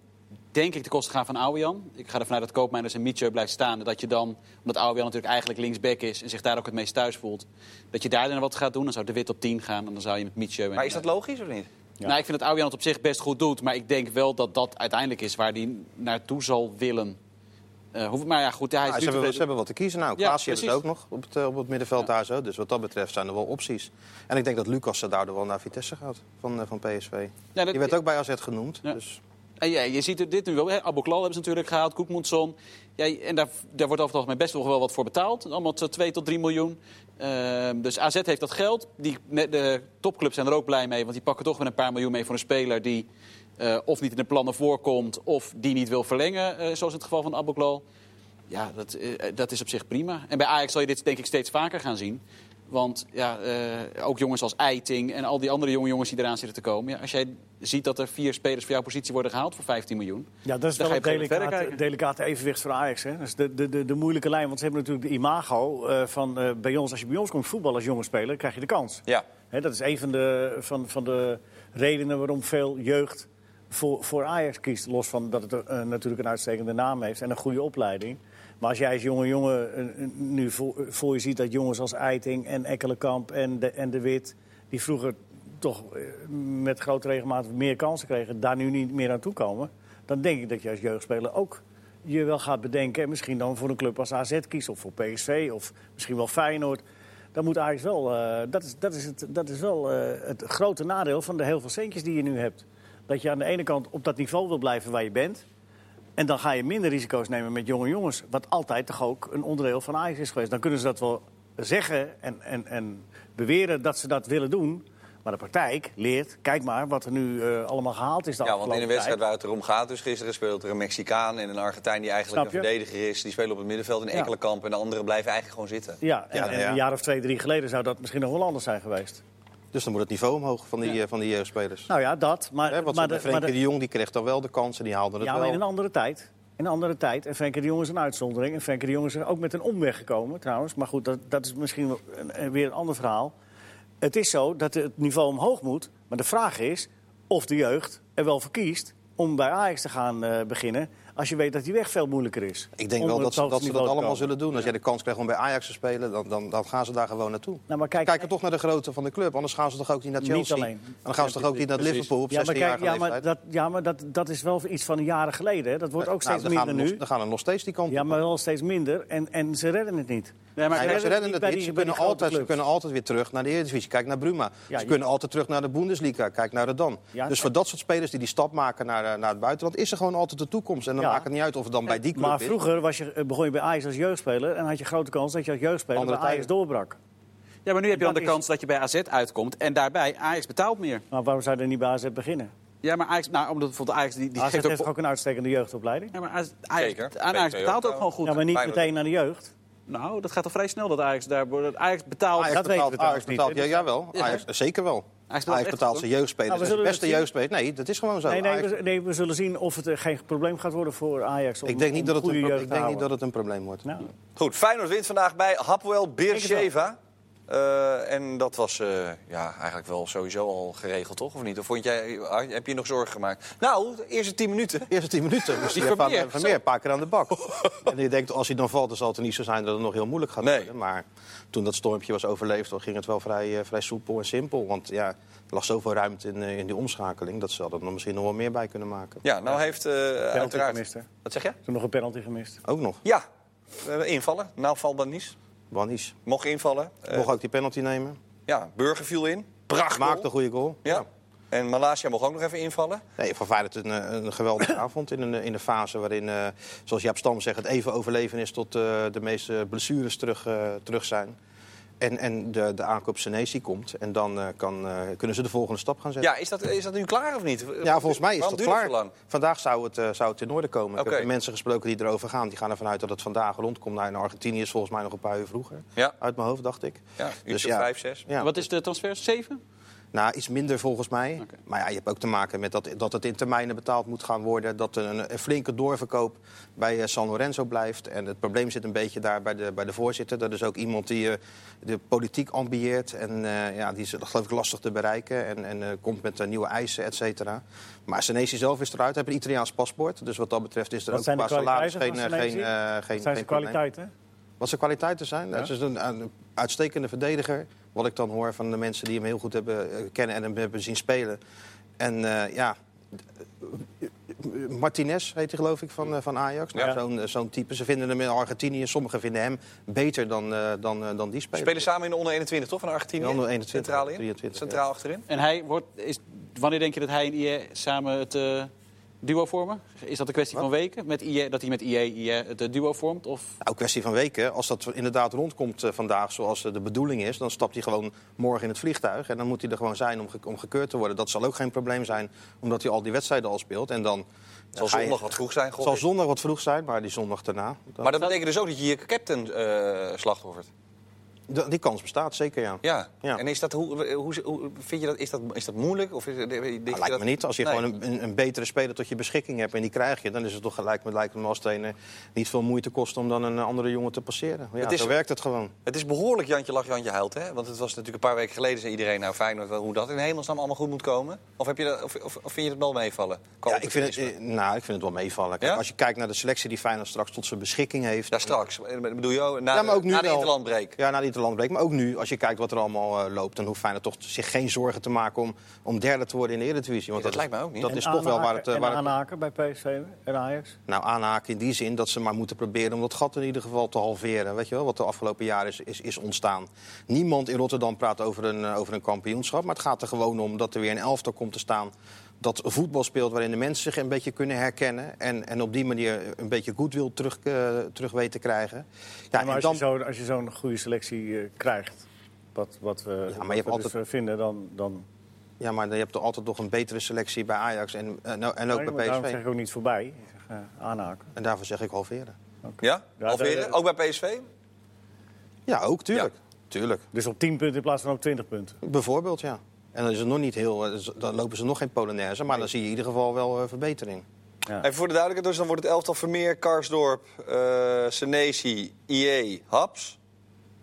[SPEAKER 3] denk ik de kosten gaan van Aouian. Ik ga ervan uit dat Koopmeiners en Mietje blijft staan. En dat je dan, omdat Aouian natuurlijk eigenlijk linksback is... en zich daar ook het meest thuis voelt... dat je daar dan wat gaat doen. Dan zou De Wit op 10 gaan en dan zou je met Mietje... en- eh,
[SPEAKER 1] Maar is dat logisch of niet?
[SPEAKER 2] Ja.
[SPEAKER 3] Nou, ik vind dat Aouian het op zich best goed doet. Maar ik denk wel dat dat uiteindelijk is waar hij naartoe zal willen. Eh, hoef- maar ja, goed, hij is
[SPEAKER 4] Ah,
[SPEAKER 3] nu
[SPEAKER 4] ze, hebben,
[SPEAKER 3] tevreden.
[SPEAKER 4] ze hebben wat te kiezen. Nou,
[SPEAKER 3] Ja,
[SPEAKER 4] Klaas heeft het ook
[SPEAKER 3] precies.
[SPEAKER 4] nog op het, eh, op het middenveld daar zo. Dus wat dat betreft zijn er wel opties. En ik denk dat Lucas er daardoor wel naar Vitesse gaat van, eh, van PSV.
[SPEAKER 3] Ja, dat-
[SPEAKER 4] Die werd ook bij AZ genoemd.
[SPEAKER 3] Ja.
[SPEAKER 4] Dus
[SPEAKER 3] En ja, je ziet het- dit nu wel. hè. Aboklal hebben ze natuurlijk gehaald, Koekmoetson. Ja, en daar, daar wordt over het algemeen best nog wel wat voor betaald. Allemaal t- 2 tot 3 miljoen. Ehm, dus AZ heeft dat geld. Die, met de topclubs zijn er ook blij mee. Want die pakken toch weer een paar miljoen mee voor een speler die eh, of niet in de plannen voorkomt... of die niet wil verlengen, eh, zoals in het geval van Aboklal. Ja, dat, eh, dat is op zich prima. En bij Ajax zal je dit denk ik steeds vaker gaan zien. Want ja, eh, ook jongens als Eiting en al die andere jonge jongens die eraan zitten te komen. Ja, als jij ziet dat er vier spelers voor jouw positie worden gehaald voor 15 miljoen.
[SPEAKER 2] Ja, dat is
[SPEAKER 3] Dan
[SPEAKER 2] wel
[SPEAKER 3] ga
[SPEAKER 2] een
[SPEAKER 3] je op een gegeven moment verder
[SPEAKER 2] delicate,
[SPEAKER 3] kijken.
[SPEAKER 2] delicate evenwicht voor Ajax. Hè? Dat is de, de, de, de moeilijke lijn, want ze hebben natuurlijk de imago eh, van eh, bij ons, als je bij ons komt voetballen als jonge speler, krijg je de kans.
[SPEAKER 1] Ja.
[SPEAKER 2] Hè, dat is een van de, van, van de redenen waarom veel jeugd voor, voor Ajax kiest. Los van dat het eh, natuurlijk een uitstekende naam heeft en een goede opleiding. Maar als jij als jonge jongen eh, eh, nu voor, voor je ziet dat jongens als Eiting en Ekkelenkamp en de, en de Wit... die vroeger toch eh, met grote regelmaat meer kansen kregen... daar nu niet meer aan toe komen... dan denk ik dat je als jeugdspeler ook je wel gaat bedenken... en misschien dan voor een club als AZ kiest of voor PSV of misschien wel Feyenoord... Dan moet Ajax wel. eh, dat, is, dat, is het, dat is wel eh, het grote nadeel van de heel veel centjes die je nu hebt. Dat je aan de ene kant op dat niveau wil blijven waar je bent. En dan ga je minder risico's nemen met jonge jongens. Wat altijd toch ook een onderdeel van Ajax is geweest. Dan kunnen ze dat wel zeggen en, en, en beweren dat ze dat willen doen. Maar de praktijk leert, kijk maar wat er nu eh, allemaal gehaald is. De
[SPEAKER 1] Ja, want in
[SPEAKER 2] afgelopen
[SPEAKER 1] een wedstrijd
[SPEAKER 2] tijd.
[SPEAKER 1] waar het erom gaat, dus gisteren speelt er een Mexicaan en een Argentijn die eigenlijk een
[SPEAKER 2] Snap je?
[SPEAKER 1] verdediger is. Die spelen op het middenveld in
[SPEAKER 2] Ja.
[SPEAKER 1] enkele kamp en de anderen blijven eigenlijk gewoon zitten.
[SPEAKER 2] Ja, en,
[SPEAKER 4] Ja,
[SPEAKER 2] en
[SPEAKER 4] ja.
[SPEAKER 2] een jaar of twee, drie geleden zou dat misschien nog wel anders zijn geweest.
[SPEAKER 4] Dus dan moet het niveau omhoog van die, eh, van die jeugdspelers.
[SPEAKER 2] Nou ja, dat. Maar,
[SPEAKER 4] Hè,
[SPEAKER 2] maar,
[SPEAKER 4] want zo bij
[SPEAKER 2] de- maar
[SPEAKER 4] Frenkie
[SPEAKER 2] de-
[SPEAKER 4] de Jong die kreeg dan wel de kansen, die haalde het
[SPEAKER 2] Ja, maar
[SPEAKER 4] wel.
[SPEAKER 2] in een andere tijd. In een andere tijd. En Frenkie de Jong is een uitzondering. En Frenkie de Jong is er ook met een omweg gekomen trouwens. Maar goed, dat, dat is misschien wel een- een- weer een ander verhaal. Het is zo dat het niveau omhoog moet. Maar de vraag is of de jeugd er wel voor kiest om bij Ajax te gaan eh, beginnen. Als je weet dat die weg veel moeilijker is.
[SPEAKER 4] Ik denk
[SPEAKER 2] om
[SPEAKER 4] wel
[SPEAKER 2] op
[SPEAKER 4] dat
[SPEAKER 2] het
[SPEAKER 4] ze
[SPEAKER 2] hoogste
[SPEAKER 4] dat, ze dat
[SPEAKER 2] niveau te
[SPEAKER 4] allemaal
[SPEAKER 2] komen.
[SPEAKER 4] zullen doen. Als jij de kans krijgt om bij Ajax te spelen, dan, dan, dan gaan ze daar gewoon naartoe.
[SPEAKER 2] Nou, maar kijk,
[SPEAKER 4] Kijken toch naar de grootte van de club. Anders gaan ze toch ook niet naar
[SPEAKER 2] Niet
[SPEAKER 4] Chelsea.
[SPEAKER 2] alleen.
[SPEAKER 4] En dan gaan ze toch ook niet naar
[SPEAKER 3] Precies.
[SPEAKER 4] Liverpool op
[SPEAKER 2] ja, maar,
[SPEAKER 4] 16 jaar
[SPEAKER 2] kijk, ja,
[SPEAKER 4] leeftijd.
[SPEAKER 2] maar, dat, ja, maar dat, dat is wel iets van jaren geleden. Hè. Dat wordt ook
[SPEAKER 4] Nou,
[SPEAKER 2] steeds
[SPEAKER 4] dan gaan
[SPEAKER 2] minder
[SPEAKER 4] er nog-
[SPEAKER 2] nu.
[SPEAKER 4] Dan gaan er nog steeds die kant op.
[SPEAKER 2] Ja, maar wel steeds minder. En, en ze redden het niet.
[SPEAKER 3] Nee, maar
[SPEAKER 4] Nee,
[SPEAKER 2] Ze
[SPEAKER 4] maar ze
[SPEAKER 2] redden het
[SPEAKER 4] redden het
[SPEAKER 2] niet bij
[SPEAKER 4] niet.
[SPEAKER 2] die-
[SPEAKER 4] Ze
[SPEAKER 2] bij die
[SPEAKER 4] kunnen, altijd,
[SPEAKER 2] grote
[SPEAKER 4] ze kunnen altijd weer terug naar de Eredivisie. Kijk naar Bruma.
[SPEAKER 2] Ja,
[SPEAKER 4] ze
[SPEAKER 2] je-
[SPEAKER 4] kunnen altijd terug naar de Bundesliga. Kijk naar de Dan.
[SPEAKER 2] Ja,
[SPEAKER 4] dus voor dat soort spelers die die stap maken naar, eh, naar het buitenland... is er gewoon altijd de toekomst. En dan
[SPEAKER 2] Ja.
[SPEAKER 4] maakt het niet uit of het dan bij die club
[SPEAKER 2] Maar
[SPEAKER 4] is.
[SPEAKER 2] vroeger was je, eh, begon je bij Ajax als jeugdspeler en had je grote kans dat je als jeugdspeler
[SPEAKER 4] Andere
[SPEAKER 2] bij Ajax
[SPEAKER 4] tijden.
[SPEAKER 2] doorbrak.
[SPEAKER 3] Ja, maar nu heb je dan de
[SPEAKER 2] Dat is-
[SPEAKER 3] kans dat je bij AZ uitkomt en daarbij Ajax betaalt meer.
[SPEAKER 2] Maar waarom zou je er niet bij AZ beginnen?
[SPEAKER 3] Ja, maar Ajax, nou, omdat bijvoorbeeld Ajax die, die
[SPEAKER 2] AZ
[SPEAKER 3] geeft
[SPEAKER 2] heeft
[SPEAKER 3] ook...
[SPEAKER 2] ook een uitstekende jeugdopleiding.
[SPEAKER 3] Ja, maar Ajax, Ajax,
[SPEAKER 1] Zeker.
[SPEAKER 3] aan Ajax
[SPEAKER 1] PSV
[SPEAKER 3] betaalt
[SPEAKER 1] ook
[SPEAKER 3] ook gewoon goed.
[SPEAKER 2] Ja, maar niet
[SPEAKER 1] Feyenoord.
[SPEAKER 2] meteen naar de jeugd.
[SPEAKER 3] Nou, dat gaat al vrij snel dat Ajax daar wordt. Ajax betaalt.
[SPEAKER 4] Ajax
[SPEAKER 2] dat weten
[SPEAKER 4] betaalt,
[SPEAKER 2] we trouwens
[SPEAKER 4] Ajax betaalt,
[SPEAKER 2] niet,
[SPEAKER 4] ja,
[SPEAKER 2] hè?
[SPEAKER 4] jawel. Ajax, eh, zeker wel. Ajax
[SPEAKER 3] echt
[SPEAKER 4] betaalt,
[SPEAKER 3] goed, hoor.
[SPEAKER 4] zijn jeugdspelers.
[SPEAKER 2] Nou, we
[SPEAKER 4] Dat zijn de
[SPEAKER 2] zullen
[SPEAKER 4] beste
[SPEAKER 2] het zien.
[SPEAKER 4] jeugdspelers. Nee, dat is gewoon zo.
[SPEAKER 2] Nee, nee,
[SPEAKER 4] Ajax-
[SPEAKER 2] we, nee, we zullen zien of het eh, geen probleem gaat worden voor Ajax. Om,
[SPEAKER 4] ik denk niet
[SPEAKER 2] om
[SPEAKER 4] dat het
[SPEAKER 2] goede
[SPEAKER 4] een pro-
[SPEAKER 2] jeugd
[SPEAKER 4] ik
[SPEAKER 2] te Nou,
[SPEAKER 4] denk niet dat
[SPEAKER 2] houden.
[SPEAKER 4] het een probleem wordt.
[SPEAKER 2] Nou,
[SPEAKER 1] Goed, Feyenoord wint vandaag bij Hapwell Beersheva. Eh, en dat was eh, ja, eigenlijk wel sowieso al geregeld, toch? Of niet? Of vond jij, ah, heb je nog zorgen gemaakt? Nou, de eerste tien minuten.
[SPEAKER 4] Eerste tien minuten moest
[SPEAKER 3] Die
[SPEAKER 4] hij van,
[SPEAKER 3] Vermeer,
[SPEAKER 4] van meer een paar keer aan de bak. en je denkt, als hij dan valt, dan zal het er niet zo zijn dat het nog heel moeilijk gaat
[SPEAKER 1] Nee.
[SPEAKER 4] worden. Maar toen dat stormpje was overleefd, dan ging het wel vrij, eh, vrij soepel en simpel. Want ja, er lag zoveel ruimte in, eh, in die omschakeling... dat ze hadden er misschien nog wel meer bij kunnen maken.
[SPEAKER 1] Ja, nou heeft eh, uiteraard...
[SPEAKER 2] gemist, hè?
[SPEAKER 1] Wat zeg je?
[SPEAKER 2] Toen nog een penalty gemist.
[SPEAKER 4] Ook nog,
[SPEAKER 1] Ja, eh, invallen. Nou, Valbanis
[SPEAKER 4] Wanis.
[SPEAKER 1] mocht invallen. Eh,
[SPEAKER 4] Mocht ook die penalty nemen.
[SPEAKER 1] ja, Burger viel in. Prachtig.
[SPEAKER 4] Maakte een goede goal.
[SPEAKER 1] Ja. En Malasia mocht ook nog even invallen.
[SPEAKER 4] Nee, voor Feyenoord een, eh, een geweldige avond in een, in een fase waarin, eh, zoals Jaap Stam zegt, het even overleven is tot eh, de meeste blessures terug, eh, terug zijn. En, en de, de aankoop Senesi komt. En dan eh, kan, eh, kunnen ze de volgende stap gaan zetten.
[SPEAKER 1] Ja, is dat, is dat nu klaar of niet?
[SPEAKER 4] Ja, volgens mij is
[SPEAKER 1] Waarom
[SPEAKER 4] dat
[SPEAKER 1] duurt het
[SPEAKER 4] klaar.
[SPEAKER 1] zo lang?
[SPEAKER 4] Vandaag zou het, eh, zou het in orde komen.
[SPEAKER 1] Oké.
[SPEAKER 4] Ik heb mensen gesproken die erover gaan. Die gaan ervan uit dat het vandaag rondkomt. Nou, in Argentinië is volgens mij nog een paar uur vroeger.
[SPEAKER 1] Ja.
[SPEAKER 4] Uit mijn hoofd, dacht ik.
[SPEAKER 1] Ja, uurtje
[SPEAKER 4] Dus ja.
[SPEAKER 1] vijf, zes.
[SPEAKER 4] Ja.
[SPEAKER 3] Wat is de transfer? 7?
[SPEAKER 4] Nou, iets minder volgens mij.
[SPEAKER 3] Oké.
[SPEAKER 4] Maar ja, je hebt ook te maken met dat, dat het in termijnen betaald moet gaan worden. Dat er een, een flinke doorverkoop bij eh, San Lorenzo blijft. En het probleem zit een beetje daar bij de, bij de voorzitter. Dat is ook iemand die eh, de politiek ambieert. En eh, ja, die is geloof ik lastig te bereiken. En, en eh, komt met eh, nieuwe eisen, et cetera. Maar Senesi zelf is eruit. Hij heeft een Italiaans paspoort. Dus wat dat betreft is er
[SPEAKER 2] Wat
[SPEAKER 4] ook
[SPEAKER 2] zijn de
[SPEAKER 4] qua salaris geen,
[SPEAKER 2] kwaliteiten van
[SPEAKER 4] eh, geen,
[SPEAKER 2] Senesi?
[SPEAKER 4] eh, geen,
[SPEAKER 2] Dat zijn
[SPEAKER 4] geen
[SPEAKER 2] zijn
[SPEAKER 4] probleem.
[SPEAKER 2] kwaliteiten.
[SPEAKER 4] Wat zijn kwaliteiten zijn? Het is een, een uitstekende verdediger. Wat ik dan hoor van de mensen die hem heel goed hebben eh, kennen en hem hebben zien spelen. En eh, ja, eh, Martinez heet hij geloof ik van, eh, van Ajax. Nou,
[SPEAKER 1] Ja.
[SPEAKER 4] Zo'n eh, zo'n type. Ze vinden hem in Argentinië. Sommigen vinden hem beter dan, eh, dan, eh, dan die
[SPEAKER 1] We
[SPEAKER 4] speler.
[SPEAKER 1] spelen samen in de onder 21, toch? Van Argentinië?
[SPEAKER 4] De onder 21,
[SPEAKER 1] Centraal in?
[SPEAKER 4] 23,
[SPEAKER 1] Centraal achterin?
[SPEAKER 3] En hij wordt, is, wanneer denk je dat hij en IE samen het eh, duo vormen? Is dat een kwestie van weken? Met IE, dat hij met IE, IE het eh, duo vormt? Of
[SPEAKER 4] Nou, kwestie van weken. Als dat inderdaad rondkomt eh, vandaag zoals eh, de bedoeling is... dan stapt hij gewoon morgen in het vliegtuig. En dan moet hij er gewoon zijn om, ge- om gekeurd te worden. Dat zal ook geen probleem zijn, omdat hij al die wedstrijden al speelt. En dan
[SPEAKER 1] Het zal
[SPEAKER 4] ga je-
[SPEAKER 1] zondag wat vroeg zijn,
[SPEAKER 4] Het
[SPEAKER 1] God.
[SPEAKER 4] zal zondag wat vroeg zijn, maar die zondag daarna. dan-
[SPEAKER 1] Maar dat betekent dus ook dat je je captain eh, slachtoffert.
[SPEAKER 4] d- die kans bestaat, zeker ja.
[SPEAKER 1] Ja.
[SPEAKER 4] Ja.
[SPEAKER 1] En is dat, hoe, hoe, hoe- vind je dat, is dat, is dat moeilijk? Of is, denk je
[SPEAKER 4] Nou, lijkt
[SPEAKER 1] dat-
[SPEAKER 4] me niet. Als je
[SPEAKER 1] Nee.
[SPEAKER 4] gewoon een- een, een betere speler tot je beschikking hebt en die krijg je... dan is het toch gelijk met lijkt me als trainer eh, niet veel moeite kost... om dan een eh, andere jongen te passeren. Ja,
[SPEAKER 1] Het is-
[SPEAKER 4] Zo werkt het gewoon.
[SPEAKER 1] Het is behoorlijk Jantje lach, Jantje huilt, hè? Want het was natuurlijk een paar weken geleden zei iedereen... nou, Feyenoord, wel, hoe dat in hemelsnaam allemaal goed moet komen. Of, heb je dat, of, of, of vind je het wel meevallen? Qua
[SPEAKER 4] Ja, ik vind het,
[SPEAKER 1] optimisme.
[SPEAKER 4] eh, nou, ik vind het wel meevallen. Kijk,
[SPEAKER 1] Ja?
[SPEAKER 4] Als je kijkt naar de selectie die Feyenoord straks tot zijn beschikking heeft...
[SPEAKER 1] Ja, straks. Eh, Bedoel je, ook, na,
[SPEAKER 4] ja, maar ook nu
[SPEAKER 1] na de
[SPEAKER 4] wel.
[SPEAKER 1] interlandbreek.
[SPEAKER 4] Ja, na de interlandbreek. Maar ook nu, als je kijkt wat er allemaal eh, loopt... dan hoeft Feyenoord toch zich geen zorgen te maken om, om derde te worden in de Eredivisie. Want
[SPEAKER 1] Nee, dat lijkt mij ook niet.
[SPEAKER 4] Dat
[SPEAKER 2] En
[SPEAKER 4] is toch wel waar
[SPEAKER 2] aanhaken-
[SPEAKER 4] het... eh,
[SPEAKER 2] en
[SPEAKER 4] waar het-
[SPEAKER 2] aanhaken bij PSV en Ajax.
[SPEAKER 4] Nou, aanhaken in die zin dat ze maar moeten proberen om dat gat in ieder geval te halveren. Weet je wel, wat de afgelopen jaren is, is, is ontstaan. Niemand in Rotterdam praat over een, eh, over een kampioenschap. Maar het gaat er gewoon om dat er weer een elftal komt te staan. Dat voetbal speelt waarin de mensen zich een beetje kunnen herkennen. En, en op die manier een beetje goodwill terug, eh, terug weet te krijgen. Ja,
[SPEAKER 2] Ja, maar
[SPEAKER 4] en
[SPEAKER 2] als,
[SPEAKER 4] dan,
[SPEAKER 2] je zo, als je zo'n goede selectie eh, krijgt, wat, wat we, wat
[SPEAKER 4] hebt
[SPEAKER 2] we
[SPEAKER 4] altijd-
[SPEAKER 2] dus, eh, vinden, dan... dan
[SPEAKER 4] ja, maar je hebt toch altijd nog een betere selectie bij Ajax en, en, ook- en ook
[SPEAKER 2] Nee, maar
[SPEAKER 4] bij
[SPEAKER 2] daarom
[SPEAKER 4] PSV.
[SPEAKER 2] zeg ik ook niet voorbij. Ik zeg, eh, aanhaken.
[SPEAKER 4] En daarvoor zeg ik halveren.
[SPEAKER 1] Ja?
[SPEAKER 2] Ja,
[SPEAKER 1] Halveren?
[SPEAKER 2] daar-
[SPEAKER 1] Ook bij PSV?
[SPEAKER 4] Ja, ook, tuurlijk. Tuurlijk.
[SPEAKER 2] Dus op 10 punten in plaats van op 20 punten.
[SPEAKER 4] Bijvoorbeeld, ja. En dan, is het nog niet heel, eh, z- dan lopen ze nog geen Polonaise, maar dan zie je in ieder geval wel eh, verbetering.
[SPEAKER 2] Ja.
[SPEAKER 1] Even voor de duidelijkheid, dus dan wordt het elftal Vermeer, Karsdorp, eh Senesi, IE, Haps,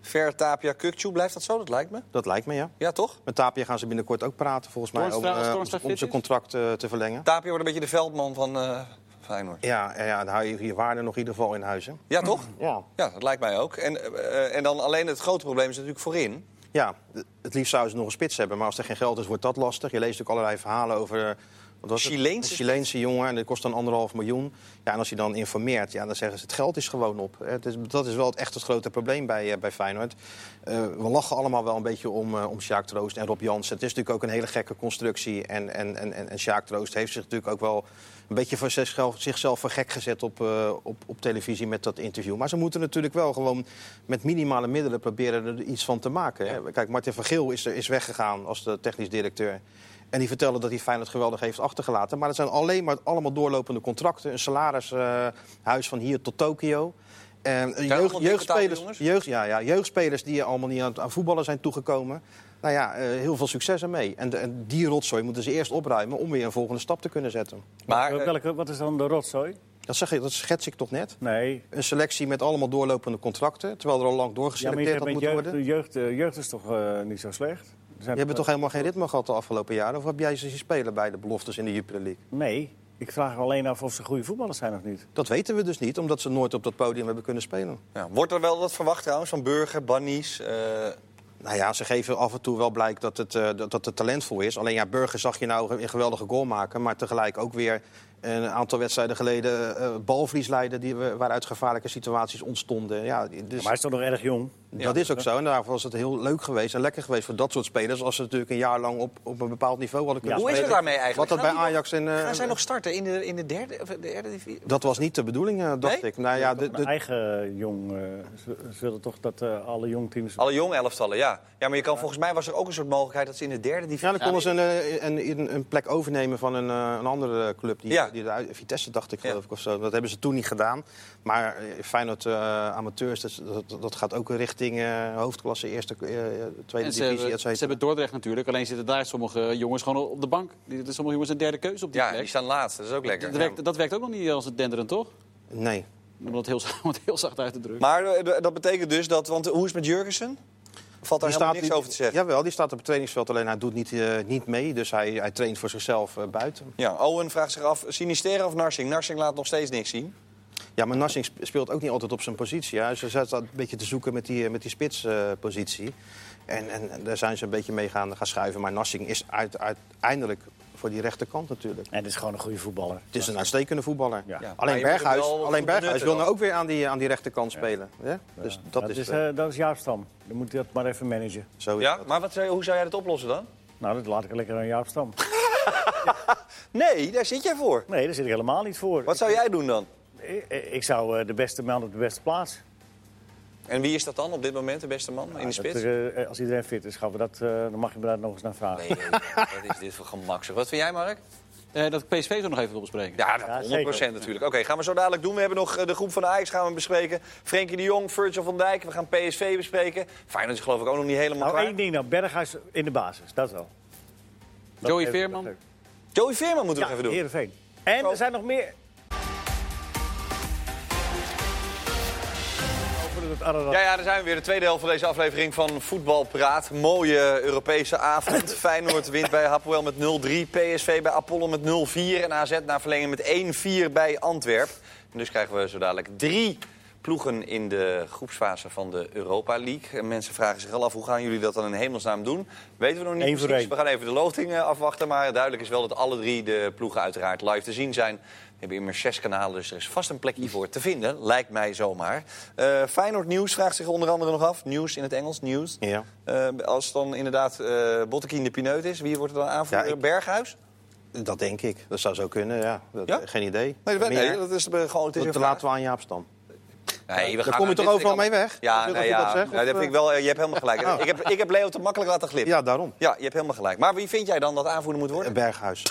[SPEAKER 1] Ver, Tapia, Kukcu. Blijft dat zo? Dat lijkt me.
[SPEAKER 4] Dat lijkt me, ja.
[SPEAKER 1] Ja, toch?
[SPEAKER 4] Met Tapia gaan ze binnenkort ook praten, volgens mij, om,
[SPEAKER 3] Toornstra, als
[SPEAKER 4] eh, om,
[SPEAKER 3] Toornstra
[SPEAKER 4] om
[SPEAKER 3] fit
[SPEAKER 4] zijn
[SPEAKER 3] is?
[SPEAKER 4] contract eh, te verlengen.
[SPEAKER 1] Tapia wordt een beetje de veldman van eh, Feyenoord.
[SPEAKER 4] Ja, en ja, dan hou je je waarde nog in ieder geval in huis, hè.
[SPEAKER 1] Ja, toch?
[SPEAKER 4] Ja.
[SPEAKER 1] Ja, dat lijkt mij ook. En, eh, eh, en dan alleen het grote probleem is natuurlijk voorin.
[SPEAKER 4] Ja, d- het liefst zouden ze nog een spits hebben, maar als er geen geld is, wordt dat lastig. Je leest ook allerlei verhalen over... eh, Wat was het?
[SPEAKER 1] Chileense
[SPEAKER 4] Een Chileense jongen, en dat kost dan anderhalf miljoen. Ja, en als je dan informeert, ja, dan zeggen ze het geld is gewoon op. Het is, dat is wel het, echt het grote probleem bij, eh, bij Feyenoord. Eh, we lachen allemaal wel een beetje om, eh, om Sjaak Troost en Rob Jansen. Het is natuurlijk ook een hele gekke constructie. En, en, en, en, en Sjaak Troost heeft zich natuurlijk ook wel een beetje voor zichzelf, zichzelf voor gek gezet op, eh, op, op televisie met dat interview. Maar ze moeten natuurlijk wel gewoon met minimale middelen proberen er iets van te maken. Hè. Kijk, Martin van Geel is, er, is weggegaan als de technisch directeur. En die vertelde dat hij Feyenoord geweldig heeft achtergelaten. Maar het zijn alleen maar allemaal doorlopende contracten. Een salarishuis huis van hier tot Tokio. En
[SPEAKER 1] allemaal
[SPEAKER 4] jeugd,
[SPEAKER 1] dik betaalde
[SPEAKER 4] jeugdspelers,
[SPEAKER 1] jongens?
[SPEAKER 4] jeugd, ja, ja, jeugdspelers die allemaal niet aan, aan voetballen zijn toegekomen. Nou ja, eh, heel veel succes ermee. En, de- en die rotzooi moeten ze eerst opruimen om weer een volgende stap te kunnen zetten.
[SPEAKER 1] Maar,
[SPEAKER 2] Wel-
[SPEAKER 1] eh,
[SPEAKER 2] Welke, wat is dan de rotzooi?
[SPEAKER 4] Dat, zeg ik, dat schets ik toch net.
[SPEAKER 2] Nee.
[SPEAKER 4] Een selectie met allemaal doorlopende contracten. Terwijl er al lang
[SPEAKER 2] Ja, maar
[SPEAKER 4] doorgeselecteerd
[SPEAKER 2] je hebt
[SPEAKER 4] had
[SPEAKER 2] met
[SPEAKER 4] moeten
[SPEAKER 2] jeugd,
[SPEAKER 4] worden.
[SPEAKER 2] de jeugd, de jeugd is toch eh, niet zo slecht? Er zijn
[SPEAKER 4] Je hebt toch helemaal geen ritme gehad de afgelopen jaren? Of heb jij ze zien spelen bij de beloftes in de Jupiler League?
[SPEAKER 2] Nee, ik vraag me alleen af of ze goede voetballers zijn of niet.
[SPEAKER 4] Dat weten we dus niet, omdat ze nooit op dat podium hebben kunnen spelen.
[SPEAKER 1] Ja, wordt er wel wat verwacht trouwens van Burger, Bannies? eh,
[SPEAKER 4] Nou ja, ze geven af en toe wel blijk dat het, eh, dat, dat het talentvol is. Alleen ja, Burger zag je nou een geweldige goal maken. Maar tegelijk ook weer een aantal wedstrijden geleden eh balverlies leiden... Die, we- waaruit gevaarlijke situaties ontstonden. Ja, dus
[SPEAKER 2] Maar hij is toch nog erg jong?
[SPEAKER 4] dat is ook zo. En daarvoor was het heel leuk geweest en lekker geweest voor dat soort spelers... als ze natuurlijk een jaar lang op, op een bepaald niveau hadden kunnen
[SPEAKER 1] hoe is het
[SPEAKER 4] spelen.
[SPEAKER 1] daarmee eigenlijk?
[SPEAKER 4] Wat dat bij
[SPEAKER 1] Gaan die nog-
[SPEAKER 4] Ajax en... eh,
[SPEAKER 1] Gaan zij nog starten in de, in de derde, of de derde divisie?
[SPEAKER 4] Dat was niet de bedoeling, eh, dacht
[SPEAKER 1] Nee?
[SPEAKER 4] ik. Nou ja, de, de-
[SPEAKER 2] Een eigen jong. eh, ze, ze willen toch dat eh, alle jong teams.
[SPEAKER 1] Alle jong elftallen, ja. Ja, maar je kan, volgens mij was er ook een soort mogelijkheid dat ze in de derde divisie...
[SPEAKER 4] Ja, dan konden ze een, eh, een, een, een plek overnemen van een, eh, een andere club. Die,
[SPEAKER 1] Ja.
[SPEAKER 4] die eruit- Vitesse dacht ik,
[SPEAKER 1] Ja.
[SPEAKER 4] geloof ik, of zo. Dat hebben ze toen niet gedaan. Maar eh, Feyenoord eh, amateurs, dat, dat, dat gaat ook richting eh, hoofdklasse, eerste, eh, tweede
[SPEAKER 3] En ze,
[SPEAKER 4] divisie,
[SPEAKER 3] hebben,
[SPEAKER 4] et
[SPEAKER 3] ze
[SPEAKER 4] cetera.
[SPEAKER 3] hebben Dordrecht natuurlijk, alleen zitten daar sommige jongens gewoon op de bank. Die- Sommige jongens een derde keuze op die
[SPEAKER 1] Ja,
[SPEAKER 3] plek.
[SPEAKER 1] die staan laatst. Dat is ook lekker.
[SPEAKER 3] dat, werkt, dat werkt ook nog niet als het denderen, toch?
[SPEAKER 4] Nee.
[SPEAKER 3] Om dat heel, om het heel zacht uit te drukken.
[SPEAKER 1] Maar eh, d- dat betekent dus dat... Want hoe is het met Jurgensen? Valt daar helemaal niks
[SPEAKER 4] nu-
[SPEAKER 1] over te zeggen?
[SPEAKER 4] Jawel, die staat op het trainingsveld, alleen hij doet niet, eh, niet mee. Dus hij, hij traint voor zichzelf eh, buiten.
[SPEAKER 1] Ja, Owen vraagt zich af, Sinistera of Narsing? Narsing laat nog steeds niks zien.
[SPEAKER 4] Ja, maar Narsing sp- speelt ook niet altijd op zijn positie. Hij Ze zat dat een beetje te zoeken met die, eh, met die spitspositie. en, en, en daar zijn ze een beetje mee gaan, gaan schuiven. Maar Narsing is uit, uiteindelijk voor die rechterkant natuurlijk.
[SPEAKER 2] En het is gewoon een goede voetballer.
[SPEAKER 4] Het is een uitstekende voetballer.
[SPEAKER 2] Ja.
[SPEAKER 1] Ja, maar
[SPEAKER 4] Alleen
[SPEAKER 1] je moet
[SPEAKER 4] Berghuis,
[SPEAKER 1] het wel
[SPEAKER 4] alleen
[SPEAKER 1] goed
[SPEAKER 4] Berghuis
[SPEAKER 1] benutten
[SPEAKER 4] wil
[SPEAKER 1] dan.
[SPEAKER 4] nou ook weer aan die, aan die rechterkant spelen. Ja? Dus dat, is, eh,
[SPEAKER 2] eh, dat is Jaap Stam. Dan moet hij dat maar even managen.
[SPEAKER 4] zo is
[SPEAKER 1] Ja,
[SPEAKER 4] dat.
[SPEAKER 1] maar wat, zou- hoe zou jij dat oplossen dan?
[SPEAKER 2] Nou, dat laat ik lekker aan Jaap Stam.
[SPEAKER 1] Nee, daar zit jij voor.
[SPEAKER 2] Nee, daar zit ik helemaal niet voor.
[SPEAKER 1] Wat zou jij doen dan?
[SPEAKER 2] Ik, eh, ik zou eh, de beste man op de beste plaats.
[SPEAKER 1] En wie is dat dan op dit moment, de beste man in de
[SPEAKER 2] Dat
[SPEAKER 1] spits?
[SPEAKER 2] er, eh, als iedereen fit is, gaan we dat, eh, dan mag je me daar nog eens naar vragen.
[SPEAKER 1] Nee, wat is dit voor gemak? zeg. Wat vind jij, Mark?
[SPEAKER 3] Eh, dat ik PSV zo nog even wil bespreken.
[SPEAKER 1] Ja, dat
[SPEAKER 2] Ja,
[SPEAKER 1] 100%
[SPEAKER 2] zeker.
[SPEAKER 1] natuurlijk. Oké, gaan we zo dadelijk doen. We hebben nog eh, de groep van Ajax gaan we bespreken. Frenkie de Jong, Virgil van Dijk. We gaan PSV bespreken. Feyenoord is geloof ik ook nog niet helemaal
[SPEAKER 2] Nou,
[SPEAKER 1] klaar.
[SPEAKER 2] één ding dan. Berghuis in de basis, dat wel. Dat
[SPEAKER 3] Joey
[SPEAKER 2] even-
[SPEAKER 3] Veerman.
[SPEAKER 2] dat even.
[SPEAKER 1] Joey Veerman moeten we
[SPEAKER 2] Ja,
[SPEAKER 1] nog even doen.
[SPEAKER 2] Heerenveen. En
[SPEAKER 1] Zo.
[SPEAKER 2] er zijn nog meer... Over het Ararat.
[SPEAKER 1] Ja, ja, daar zijn we weer. De tweede helft van deze aflevering van Voetbal Praat. Mooie Europese avond. Feyenoord wint bij Hapoel met 0-3. PSV bij Apollo met 0-4. En AZ na verlenging met 1-4 bij Antwerp. En dus krijgen we zo dadelijk drie ploegen in de groepsfase van de Europa League. En mensen vragen zich al af, hoe gaan jullie dat dan in hemelsnaam doen? Weten we nog niet
[SPEAKER 2] Eén voor
[SPEAKER 1] precies.
[SPEAKER 2] één.
[SPEAKER 1] We gaan even de loting eh, afwachten. Maar duidelijk is wel dat alle drie de ploegen uiteraard live te zien zijn. We hebben immers zes kanalen, dus er is vast een plekje voor te vinden. Lijkt mij zomaar. Eh Feyenoord Nieuws vraagt zich onder andere nog af. Nieuws in het Engels, nieuws.
[SPEAKER 4] Ja.
[SPEAKER 1] Eh, als dan inderdaad eh Bottekin de pineut is, wie wordt er dan aanvoerder?
[SPEAKER 4] Ja, ik-
[SPEAKER 1] Berghuis?
[SPEAKER 4] Dat denk ik. Dat zou zo kunnen, ja. Dat-
[SPEAKER 1] Ja?
[SPEAKER 4] Geen idee.
[SPEAKER 1] Nee, dat,
[SPEAKER 4] Meer?
[SPEAKER 1] nee, dat is eh, gewoon... Het is
[SPEAKER 4] dat
[SPEAKER 1] een vraag.
[SPEAKER 4] laten we aan Jaap Stam.
[SPEAKER 1] Nee, we
[SPEAKER 4] Daar
[SPEAKER 1] gaan
[SPEAKER 4] kom je
[SPEAKER 1] aan
[SPEAKER 4] toch
[SPEAKER 1] dit-
[SPEAKER 4] overal
[SPEAKER 1] ik had-
[SPEAKER 4] mee weg?
[SPEAKER 1] Ja, nee,
[SPEAKER 4] Wil dat je
[SPEAKER 1] ja.
[SPEAKER 4] dat zegt,
[SPEAKER 1] Nee, dat
[SPEAKER 4] of, Oh.
[SPEAKER 1] vind ik wel, eh, je hebt helemaal gelijk. Ik, heb, ik heb Leo te makkelijk laten glippen.
[SPEAKER 4] Ja, Eh, daarom.
[SPEAKER 1] Ja, je hebt helemaal gelijk. Maar wie vind jij dan dat aanvoerder moet worden?
[SPEAKER 4] Berghuis.